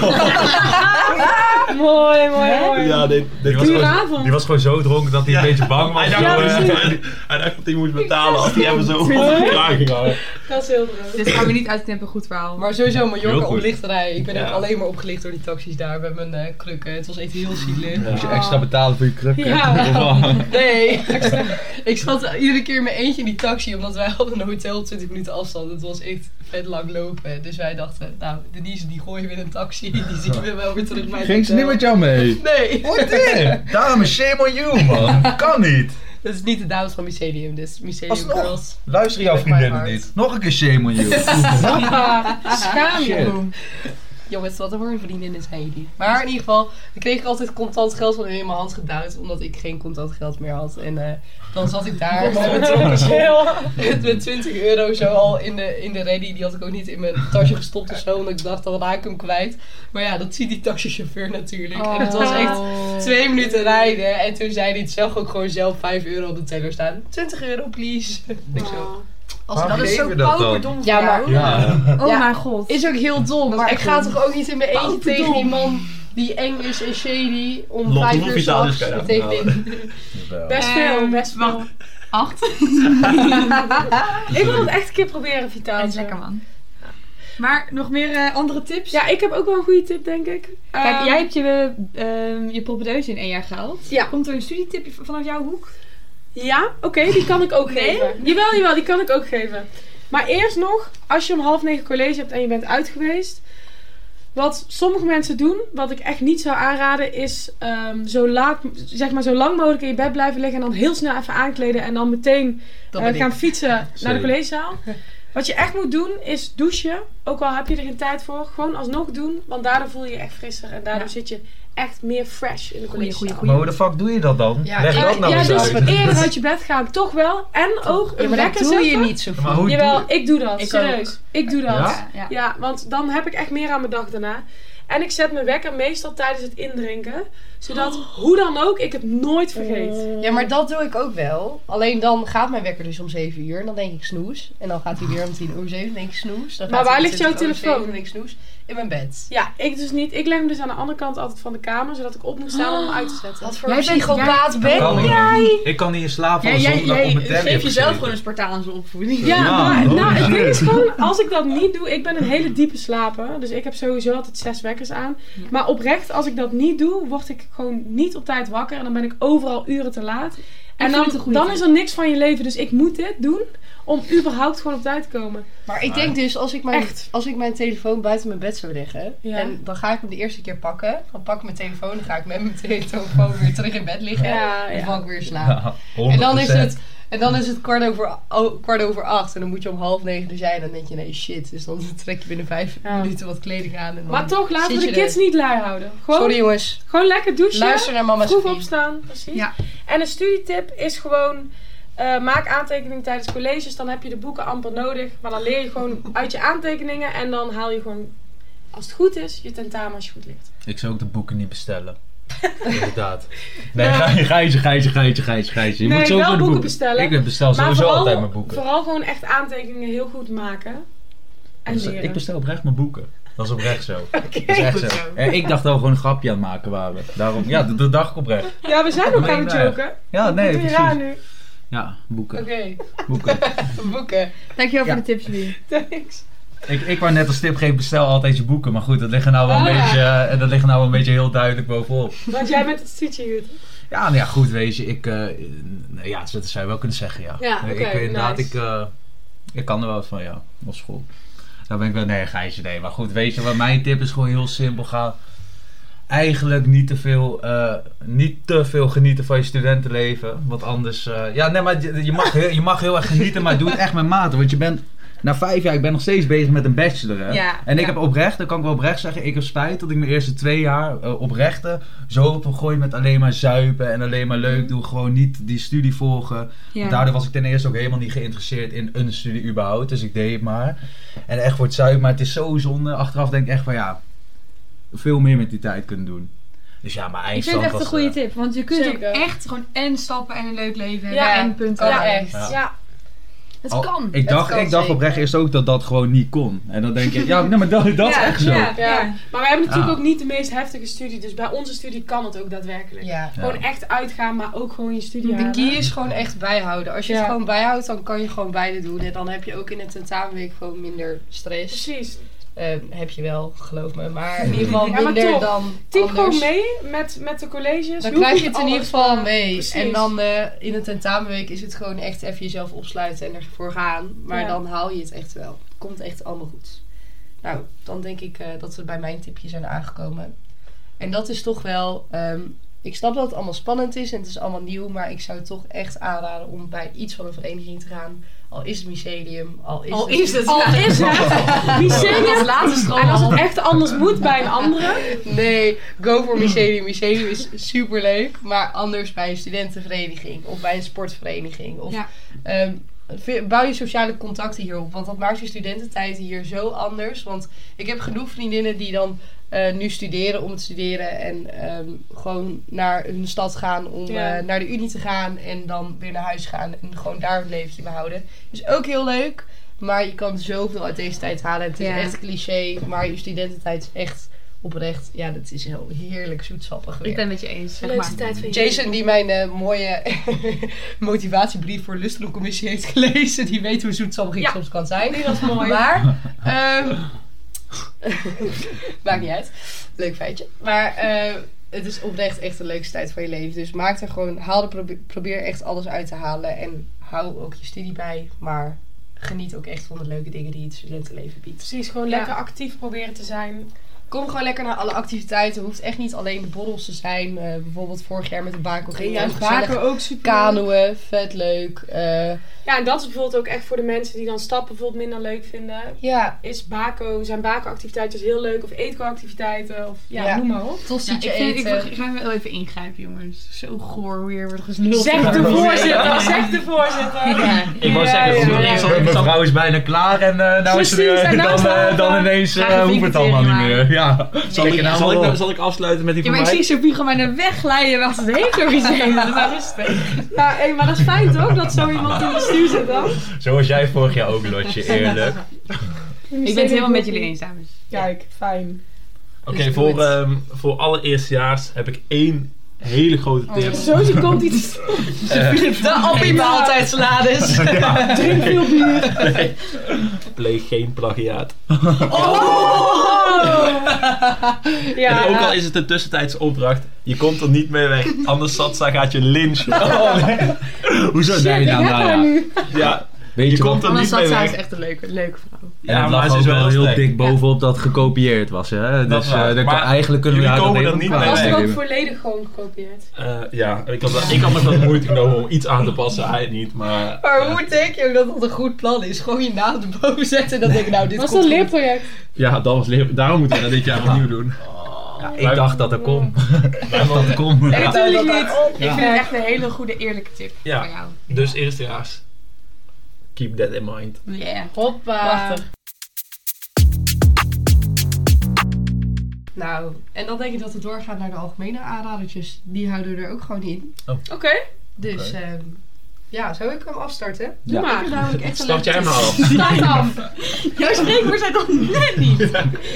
[SPEAKER 1] Mooi, mooi, mooi.
[SPEAKER 2] Ja, dit, dit was
[SPEAKER 1] Pure
[SPEAKER 2] gewoon...
[SPEAKER 1] avond.
[SPEAKER 11] Die was gewoon zo dronken dat hij
[SPEAKER 2] Ja.
[SPEAKER 11] een beetje bang was.
[SPEAKER 2] Hij dacht,
[SPEAKER 11] voor, eh,
[SPEAKER 2] hij, hij dacht dat hij moest betalen als hij even zo op de kraag ging hangen.
[SPEAKER 1] Dat is heel droog.
[SPEAKER 7] Dit gaan we niet uitknippen, goed verhaal.
[SPEAKER 3] Maar sowieso
[SPEAKER 11] Heel
[SPEAKER 3] Mallorca
[SPEAKER 11] goed.
[SPEAKER 3] omlichterij. Ik ben
[SPEAKER 2] Ja.
[SPEAKER 3] ook alleen maar opgelicht door die taxis daar met mijn eh, krukken. Het was echt heel zielig.
[SPEAKER 4] Moet je extra betalen voor je krukken?
[SPEAKER 1] Ja.
[SPEAKER 3] Nee, ik zat iedere keer in mijn eentje in die taxi, omdat wij hadden een hotel op 20 minuten afstand. Het was echt vet lang lopen. Dus wij dachten, nou, Denise die gooien we in een taxi, die zien we wel weer terug bij het
[SPEAKER 4] Ging ze niet
[SPEAKER 3] hotel.
[SPEAKER 4] met jou mee?
[SPEAKER 3] Nee,
[SPEAKER 4] Wat dit? Dames, shame on you, man. Kan niet.
[SPEAKER 3] dat is niet de dames van Mycelium, dus Mycelium
[SPEAKER 4] Alsnog.
[SPEAKER 3] Girls.
[SPEAKER 4] Luister jouw vriendinnen niet. Nog een keer shame on you.
[SPEAKER 1] Schaam
[SPEAKER 4] Shit.
[SPEAKER 1] je.
[SPEAKER 3] Jongens, wat een voor vriendinnen zijn die. Maar in ieder geval, dan kreeg ik altijd contant geld van hun in mijn hand gedouwd, omdat ik geen contant geld meer had. En eh, dan zat ik daar met mijn trokken met met 20 euro zo al in de, in de ready. Die had ik ook niet in mijn tasje gestopt of zo. Want ik dacht, dan raak ik hem kwijt. Maar ja, dat ziet die taxichauffeur natuurlijk. En het was echt twee minuten rijden. En toen zei hij het zelf ook gewoon zelf 5 euro op de teller staan. 20 euro, please. Ik zo.
[SPEAKER 4] Waarom
[SPEAKER 7] dat is
[SPEAKER 4] geven
[SPEAKER 7] zo
[SPEAKER 4] we dat dan?
[SPEAKER 7] pauperdom
[SPEAKER 3] Ja,
[SPEAKER 7] van
[SPEAKER 3] maar-
[SPEAKER 7] jou.
[SPEAKER 4] Ja.
[SPEAKER 7] Oh
[SPEAKER 3] Ja.
[SPEAKER 7] mijn god.
[SPEAKER 3] Is ook heel dom.
[SPEAKER 7] is
[SPEAKER 3] Maar ik
[SPEAKER 7] echt
[SPEAKER 3] ga
[SPEAKER 7] dom.
[SPEAKER 3] toch ook niet in mijn eentje
[SPEAKER 7] Pauperdom.
[SPEAKER 3] tegen die man die eng is en shady om
[SPEAKER 2] Lot,
[SPEAKER 3] 5
[SPEAKER 2] hoeveel
[SPEAKER 3] uur
[SPEAKER 2] Italiërs
[SPEAKER 3] s'nachts
[SPEAKER 2] kan je daar
[SPEAKER 3] tegen
[SPEAKER 2] verhalen?
[SPEAKER 3] die-
[SPEAKER 1] Best veel, best veel.
[SPEAKER 7] Acht.
[SPEAKER 1] Ik wil het echt een keer proberen,
[SPEAKER 7] Dat is
[SPEAKER 1] Vitaaltje.
[SPEAKER 7] lekker man. Maar nog meer eh, andere tips?
[SPEAKER 1] Ja, ik heb ook wel een goede tip, denk ik.
[SPEAKER 7] Kijk,
[SPEAKER 1] Ehm,
[SPEAKER 7] jij hebt je, ehm je propedeuse in één jaar gehaald.
[SPEAKER 1] Ja.
[SPEAKER 7] Komt er een studietipje v- vanaf jouw hoek?
[SPEAKER 1] Ja, oké, die kan ik ook
[SPEAKER 7] Nee?
[SPEAKER 1] geven. Jawel, jawel, die kan ik ook geven. Maar eerst nog, als je om half negen college hebt en je bent uit geweest. Wat sommige mensen doen, wat ik echt niet zou aanraden, is ehm, zo, laat, zeg maar, zo lang mogelijk in je bed blijven liggen. En dan heel snel even aankleden en dan meteen
[SPEAKER 3] Dat
[SPEAKER 1] we
[SPEAKER 3] ben ik.
[SPEAKER 1] gaan fietsen naar de
[SPEAKER 4] Sorry.
[SPEAKER 1] collegezaal. Wat je echt moet doen is douchen. Ook al heb je er geen tijd voor. Gewoon alsnog doen. Want daardoor voel je je echt frisser. En daardoor
[SPEAKER 7] Ja.
[SPEAKER 1] zit je echt meer fresh in de collectie.
[SPEAKER 7] goeie,
[SPEAKER 1] staan.
[SPEAKER 4] Maar hoe de fuck doe je dat dan?
[SPEAKER 3] Ja,
[SPEAKER 4] Leg
[SPEAKER 3] ik-
[SPEAKER 4] dat nou
[SPEAKER 1] ja,
[SPEAKER 4] eens
[SPEAKER 1] dus
[SPEAKER 4] uit.
[SPEAKER 1] eerder uit je bed gaan, toch wel. En ook een
[SPEAKER 3] Ja, maar dat
[SPEAKER 1] wekker
[SPEAKER 3] doe je
[SPEAKER 1] zetten.
[SPEAKER 3] niet zo
[SPEAKER 4] Maar
[SPEAKER 3] vaak.
[SPEAKER 4] hoe doe
[SPEAKER 1] Jawel,
[SPEAKER 4] je-
[SPEAKER 1] ik doe dat.
[SPEAKER 7] Ik
[SPEAKER 1] serieus. Ik doe dat. Ja?
[SPEAKER 4] Ja?
[SPEAKER 7] Ja.
[SPEAKER 1] want dan heb ik echt meer aan mijn dag daarna. En ik zet mijn wekker meestal tijdens het indrinken. Zodat
[SPEAKER 3] Oh.
[SPEAKER 1] hoe dan ook ik het nooit vergeet.
[SPEAKER 3] Ja, maar dat doe ik ook wel. Alleen dan gaat mijn wekker dus om 7 uur. En dan denk ik snoes. En dan gaat hij weer om 10 over 7. Dan denk ik snoes. Dan
[SPEAKER 1] Maar
[SPEAKER 3] gaat hij
[SPEAKER 1] waar
[SPEAKER 3] om
[SPEAKER 1] ligt jouw
[SPEAKER 3] 20 over 7,
[SPEAKER 1] telefoon?
[SPEAKER 3] Dan denk ik snoes. In mijn bed.
[SPEAKER 1] Ja, ik dus niet. Ik leg hem dus aan de andere kant altijd van de kamer. Zodat ik op moet staan om hem uit te zetten.
[SPEAKER 3] Wat voor
[SPEAKER 7] Jij bent-
[SPEAKER 3] psychopaat ben
[SPEAKER 4] Kan
[SPEAKER 3] jij?
[SPEAKER 4] ik, ik kan niet in slaap
[SPEAKER 7] Jij,
[SPEAKER 4] vallen
[SPEAKER 7] jij,
[SPEAKER 4] zonder dat ik op
[SPEAKER 7] jij
[SPEAKER 4] mijn telly
[SPEAKER 7] geeft
[SPEAKER 4] heb
[SPEAKER 7] jezelf
[SPEAKER 4] gezeten.
[SPEAKER 7] gewoon een Spartaanse opvoeding.
[SPEAKER 1] Ja,
[SPEAKER 4] Ja,
[SPEAKER 1] maar
[SPEAKER 4] holy
[SPEAKER 1] nou, het ding is
[SPEAKER 4] shit.
[SPEAKER 1] gewoon, als ik dat niet doe, ik ben een hele diepe slaper. Dus ik heb sowieso altijd zes wekkers aan. Maar oprecht, als ik dat niet doe, word ik gewoon niet op tijd wakker. En dan ben ik overal uren te laat. En
[SPEAKER 7] vind
[SPEAKER 1] dan,
[SPEAKER 7] het een goede
[SPEAKER 1] dan
[SPEAKER 7] tip.
[SPEAKER 1] is er niks van je leven. Dus ik moet dit doen om überhaupt gewoon op tijd te komen.
[SPEAKER 3] Maar ik denk dus, als ik, mijn,
[SPEAKER 1] Echt.
[SPEAKER 3] als ik mijn telefoon buiten mijn bed zou leggen,
[SPEAKER 1] Ja.
[SPEAKER 3] en dan ga ik hem de eerste keer pakken, dan pak ik mijn telefoon, dan ga ik met mijn telefoon weer terug in bed liggen,
[SPEAKER 1] Ja,
[SPEAKER 3] en dan
[SPEAKER 1] ja.
[SPEAKER 3] val ik weer in slaap.
[SPEAKER 4] Ja,
[SPEAKER 3] En dan, is
[SPEAKER 4] 100%.
[SPEAKER 3] het, en dan is het kwart over, oh, kwart over acht en dan moet je om half negen er zijn. Dan denk je, nee shit, dus dan trek je binnen vijf
[SPEAKER 1] Ja.
[SPEAKER 3] minuten wat kleding aan. En dan
[SPEAKER 1] Maar toch, laten
[SPEAKER 3] Oh. zit
[SPEAKER 1] we
[SPEAKER 3] je
[SPEAKER 1] de kids
[SPEAKER 3] er.
[SPEAKER 1] niet lui houden. Gewoon,
[SPEAKER 3] Sorry jongens,
[SPEAKER 1] gewoon lekker douchen.
[SPEAKER 3] luister naar mama's
[SPEAKER 1] Vroeg
[SPEAKER 3] vriend.
[SPEAKER 1] opstaan, precies.
[SPEAKER 7] Ja.
[SPEAKER 1] En een studietip is gewoon... eh, maak aantekeningen tijdens colleges, dan heb je de boeken amper nodig. Maar dan leer je gewoon uit je aantekeningen en dan haal je gewoon, als het goed is, je tentamen als je goed ligt.
[SPEAKER 4] Ik zou ook de boeken niet bestellen. Inderdaad. Nee, geitje, geitje, geitje, geitje, geitje, geitje. Je
[SPEAKER 1] Nee,
[SPEAKER 4] moet sowieso
[SPEAKER 1] wel
[SPEAKER 4] de
[SPEAKER 1] boeken bestellen.
[SPEAKER 4] Ik bestel
[SPEAKER 1] maar
[SPEAKER 4] sowieso altijd mijn boeken.
[SPEAKER 1] vooral gewoon echt aantekeningen heel goed maken. En
[SPEAKER 4] Dus, eh,
[SPEAKER 1] leren.
[SPEAKER 4] ik bestel oprecht mijn boeken. Dat is oprecht zo. dat is echt zo. Eh, ik dacht dat we gewoon een grapje aan het maken waren. Daarom, ja, dat, dat dacht ik oprecht.
[SPEAKER 1] Ja, we zijn ook
[SPEAKER 4] Nee,
[SPEAKER 1] aan het
[SPEAKER 4] nee.
[SPEAKER 1] joken.
[SPEAKER 4] Ja, nee,
[SPEAKER 1] Doe je
[SPEAKER 4] eh, precies.
[SPEAKER 1] raar nu.
[SPEAKER 4] Ja, boeken.
[SPEAKER 1] Oké,
[SPEAKER 4] boeken.
[SPEAKER 3] Boeken.
[SPEAKER 7] Dankjewel
[SPEAKER 4] Ja.
[SPEAKER 7] voor de tips, jullie.
[SPEAKER 1] thanks.
[SPEAKER 4] Ik, ik wou net als tip geven, bestel altijd je boeken. Maar goed, dat liggen nou wel een
[SPEAKER 1] Ah, ja.
[SPEAKER 4] beetje, eh, en dat liggen nou wel een beetje heel duidelijk bovenop.
[SPEAKER 1] Want jij bent het studie
[SPEAKER 4] Ja, nou ja, goed, weet je, ik, eh, nou ja, dat zou je wel kunnen zeggen, ja.
[SPEAKER 1] Ja,
[SPEAKER 4] Nee,
[SPEAKER 1] oké,
[SPEAKER 4] ik, inderdaad,
[SPEAKER 1] nice.
[SPEAKER 4] ik, eh, ik kan er wel wat van, ja, op school. Daar ben ik wel, nee, geitje, nee. Maar goed, weet je, wat mijn tip is gewoon heel simpel, ga eigenlijk niet te veel, eh, niet te veel genieten van je studentenleven. Want anders, eh, ja, nee, maar je, je mag, heel- je mag heel erg genieten, maar doe het echt met mate. Want je bent, na vijf jaar, ik ben nog steeds bezig met een bachelor, hè.
[SPEAKER 7] Ja,
[SPEAKER 4] en ik
[SPEAKER 7] ja.
[SPEAKER 4] heb oprecht, dat kan ik wel oprecht zeggen, ik heb spijt dat ik mijn eerste twee jaar eh, oprechte zo heb gegooid met alleen maar zuipen en alleen maar leuk doen. Gewoon niet die studie volgen.
[SPEAKER 7] Ja.
[SPEAKER 4] Daardoor was ik ten eerste ook helemaal niet geïnteresseerd in een studie überhaupt. Dus ik deed het maar. En echt voor het zuipen. Maar het is zo zonde. Achteraf denk ik echt van ja, veel meer met die tijd kunnen doen. Dus ja, maar
[SPEAKER 7] Ik vind
[SPEAKER 4] eindstand
[SPEAKER 7] het echt
[SPEAKER 4] was...
[SPEAKER 7] een goede
[SPEAKER 4] eh,
[SPEAKER 7] tip, want je kunt
[SPEAKER 1] Zeker.
[SPEAKER 7] ook echt gewoon en stappen en een leuk leven hebben
[SPEAKER 1] Ja.
[SPEAKER 7] en punten.
[SPEAKER 3] Oh,
[SPEAKER 7] Ja.
[SPEAKER 3] echt.
[SPEAKER 4] Ja.
[SPEAKER 1] Ja,
[SPEAKER 7] Het
[SPEAKER 4] al-
[SPEAKER 7] kan.
[SPEAKER 4] Oh, Ik dacht,
[SPEAKER 3] kan
[SPEAKER 4] ik dacht
[SPEAKER 3] zeker.
[SPEAKER 4] oprecht eerst ook dat dat gewoon niet kon. En dan denk ik, ja, nee, maar dat, dat is
[SPEAKER 7] Ja,
[SPEAKER 4] echt zo.
[SPEAKER 7] ja.
[SPEAKER 1] ja. Maar wij hebben natuurlijk
[SPEAKER 4] Ah.
[SPEAKER 1] ook niet de meest heftige studie. Dus bij onze studie kan het ook daadwerkelijk.
[SPEAKER 3] Ja.
[SPEAKER 1] Gewoon echt uitgaan, maar ook gewoon je studie
[SPEAKER 3] De
[SPEAKER 1] halen.
[SPEAKER 3] key is gewoon echt bijhouden. Als je het
[SPEAKER 1] Ja.
[SPEAKER 3] gewoon bijhoudt, dan kan je gewoon beide doen. En dan heb je ook in de tentamenweek gewoon minder stress.
[SPEAKER 1] Precies.
[SPEAKER 3] Eh, heb je wel, geloof me. Maar in ieder geval
[SPEAKER 1] Ja, maar
[SPEAKER 3] minder
[SPEAKER 1] toch.
[SPEAKER 3] dan
[SPEAKER 1] Typ
[SPEAKER 3] anders.
[SPEAKER 1] gewoon mee met, met de colleges.
[SPEAKER 3] Dan
[SPEAKER 1] Hoe
[SPEAKER 3] krijg
[SPEAKER 1] goed
[SPEAKER 3] je het in
[SPEAKER 1] alles
[SPEAKER 3] ieder geval
[SPEAKER 1] maar-
[SPEAKER 3] mee.
[SPEAKER 1] Precies.
[SPEAKER 3] En dan eh, in de tentamenweek is het gewoon echt even jezelf opsluiten en ervoor gaan. Maar
[SPEAKER 1] Ja.
[SPEAKER 3] dan haal je het echt wel. Komt echt allemaal goed. Nou, dan denk ik eh, dat we bij mijn tipje zijn aangekomen. En dat is toch wel. ehm, ik snap dat het allemaal spannend is en het is allemaal nieuw. Maar ik zou toch echt aanraden om bij iets van een vereniging te gaan. Al is het mycelium, al is
[SPEAKER 7] Al
[SPEAKER 3] het.
[SPEAKER 7] is het.
[SPEAKER 1] Al is het. Mycelium.
[SPEAKER 7] laatste school.
[SPEAKER 1] En als het echt anders moet bij een andere.
[SPEAKER 3] Nee, go voor mycelium. Mycelium is superleuk. Maar anders bij een studentenvereniging of bij een sportvereniging. Of,
[SPEAKER 7] Ja.
[SPEAKER 3] ehm, vi- bouw je sociale contacten hierop. Want dat maakt je studententijd hier zo anders. Want ik heb genoeg vriendinnen die dan eh, nu studeren om te studeren. En ehm, gewoon naar hun stad gaan om
[SPEAKER 1] Ja.
[SPEAKER 3] eh, naar de unie te gaan. En dan weer naar huis gaan. En gewoon daar het leventje behouden. Is ook heel leuk. Maar je kan zoveel uit deze tijd halen. Het is
[SPEAKER 7] Ja.
[SPEAKER 3] echt cliché. Maar je studententijd is echt oprecht. Ja, dat is heel heerlijk zoetsappig weer.
[SPEAKER 7] Ik ben het met je eens, zeg maar.
[SPEAKER 1] Leukste tijd van je
[SPEAKER 3] Jason, die mijn eh, mooie motivatiebrief voor Lustrumcommissie heeft gelezen, die weet hoe zoetsappig ik
[SPEAKER 1] Ja.
[SPEAKER 3] soms kan zijn.
[SPEAKER 1] leven. Dat is mooi.
[SPEAKER 3] Maar, ehm, maakt niet uit. Leuk feitje. Maar eh, het is oprecht echt de leukste tijd van je leven. Dus maak er gewoon, haal er, probeer, probeer echt alles uit te halen. En hou ook je studie bij. Maar geniet ook echt van de leuke dingen die het studentenleven biedt.
[SPEAKER 1] Precies, gewoon lekker actief proberen te zijn.
[SPEAKER 3] Kom gewoon lekker naar alle activiteiten. Hoeft echt niet alleen de borrels te zijn. Eh, bijvoorbeeld vorig jaar met de Bakel ging
[SPEAKER 1] Ja,
[SPEAKER 3] ja, gezellig
[SPEAKER 1] vaker ook super.
[SPEAKER 3] kanoën. Vet leuk. Eh,
[SPEAKER 1] Ja, en dat is bijvoorbeeld ook echt voor de mensen die dan stappen bijvoorbeeld minder leuk vinden.
[SPEAKER 3] ja,
[SPEAKER 1] Is bako, zijn bako-activiteiten dus heel leuk of eetko-activiteiten of ja,
[SPEAKER 3] Ja.
[SPEAKER 1] noem maar op.
[SPEAKER 3] tostietje
[SPEAKER 10] ik, vind,
[SPEAKER 3] eten.
[SPEAKER 10] ik ga wel even ingrijpen, jongens. Zo goor weer. Wordt gesnuld.
[SPEAKER 1] Zeg de voorzitter, zeg de voorzitter.
[SPEAKER 2] Ik wou
[SPEAKER 1] Ja,
[SPEAKER 2] zeggen,
[SPEAKER 1] ja,
[SPEAKER 2] goed,
[SPEAKER 1] ja,
[SPEAKER 2] ik
[SPEAKER 1] ja.
[SPEAKER 2] zal- ik zal-
[SPEAKER 11] Mevrouw is bijna klaar en eh, nou is ze
[SPEAKER 1] Precies,
[SPEAKER 11] weer-
[SPEAKER 1] en nou is
[SPEAKER 11] dan,
[SPEAKER 1] het
[SPEAKER 11] eh,
[SPEAKER 1] over.
[SPEAKER 11] dan ineens eh,
[SPEAKER 10] Graag een
[SPEAKER 11] hoeft het allemaal niet
[SPEAKER 10] vingertje
[SPEAKER 11] meer. Ja.
[SPEAKER 2] zal ik-
[SPEAKER 11] nou
[SPEAKER 2] zal
[SPEAKER 11] wel.
[SPEAKER 2] ik- Zal ik afsluiten met die
[SPEAKER 10] Ja,
[SPEAKER 2] van
[SPEAKER 10] maar ik
[SPEAKER 2] mij?
[SPEAKER 10] zie Sophie gewoon bijna wegglijden wat het heeft door gezegd. Dat is wel rustig.
[SPEAKER 1] Nou, hé, maar dat is fijn toch, dat zo iemand in het bestuur zit dan?
[SPEAKER 11] Zoals jij vorig jaar ook, Lotje, eerlijk.
[SPEAKER 10] Ik ben het helemaal met jullie eens, dames.
[SPEAKER 1] Kijk, fijn.
[SPEAKER 2] Oké,
[SPEAKER 10] Dus doe
[SPEAKER 2] voor, ehm voor alle eerstejaars heb ik één hele grote
[SPEAKER 3] Oh,
[SPEAKER 2] tip.
[SPEAKER 1] Zoetje komt iets.
[SPEAKER 3] De appie salades.
[SPEAKER 1] Drink veel bier.
[SPEAKER 2] Pleeg geen plagiaat.
[SPEAKER 4] Oh!
[SPEAKER 1] Ja,
[SPEAKER 2] En ook al is het een tussentijdse opdracht, je komt er niet mee weg. Anders Satsa gaat je lynchen.
[SPEAKER 4] Hoezo? Nee, nou, nou, ja.
[SPEAKER 2] Ja,
[SPEAKER 4] Weet
[SPEAKER 2] je
[SPEAKER 4] je
[SPEAKER 2] komt
[SPEAKER 4] wat?
[SPEAKER 2] er
[SPEAKER 10] Anders
[SPEAKER 2] niet
[SPEAKER 10] zat
[SPEAKER 2] mee
[SPEAKER 10] zij is
[SPEAKER 2] weg.
[SPEAKER 10] echt een leuke, leuke vrouw.
[SPEAKER 4] En
[SPEAKER 2] Ja,
[SPEAKER 4] het
[SPEAKER 2] maar
[SPEAKER 4] lag
[SPEAKER 2] ze
[SPEAKER 4] ook
[SPEAKER 2] is wel
[SPEAKER 4] wel heel
[SPEAKER 2] sterk.
[SPEAKER 4] dik bovenop dat gekopieerd was. Hè?
[SPEAKER 2] Dat is
[SPEAKER 4] Dus eh,
[SPEAKER 2] waar.
[SPEAKER 4] daar kan-
[SPEAKER 2] Maar
[SPEAKER 4] eigenlijk kunnen we
[SPEAKER 2] jullie
[SPEAKER 4] daar
[SPEAKER 2] komen
[SPEAKER 4] dat
[SPEAKER 2] er
[SPEAKER 4] even
[SPEAKER 2] niet mee
[SPEAKER 4] plaatsen.
[SPEAKER 1] was
[SPEAKER 2] weg.
[SPEAKER 1] er ook volledig gewoon gekopieerd.
[SPEAKER 2] Eh, ja, ik had, wel- ik had me wel de moeite genomen om iets aan te passen, hij niet, maar... eh,
[SPEAKER 3] Maar
[SPEAKER 2] ja.
[SPEAKER 3] hoe denk je ook dat dat een goed plan is? Gewoon je naam erboven zetten en dan denk ik, nou, dit
[SPEAKER 1] Was
[SPEAKER 3] komt
[SPEAKER 1] dat een
[SPEAKER 3] goed.
[SPEAKER 1] leerproject?
[SPEAKER 2] Ja, dat was leer- Daarom moeten we dat dit jaar opnieuw doen.
[SPEAKER 4] Ik dacht dat er kon. Ik dacht dat er kon. Ja.
[SPEAKER 1] Natuurlijk niet.
[SPEAKER 10] Ik vind het echt een hele goede, eerlijke tip van
[SPEAKER 2] Ja,
[SPEAKER 10] jou.
[SPEAKER 2] dus eerstejaars. Keep that in mind.
[SPEAKER 10] Yeah.
[SPEAKER 1] Hoppa.
[SPEAKER 3] Nou, en dan denk ik dat we doorgaan naar de algemene aanradertjes. Die houden we er ook gewoon in.
[SPEAKER 1] Oké,
[SPEAKER 3] Dus ehm, ja, zou ik hem afstarten?
[SPEAKER 1] doe maar.
[SPEAKER 3] Ik heb namelijk echt een
[SPEAKER 2] Start jij maar al.
[SPEAKER 10] Start af. Jouw spreekwoord zijn toch net niet.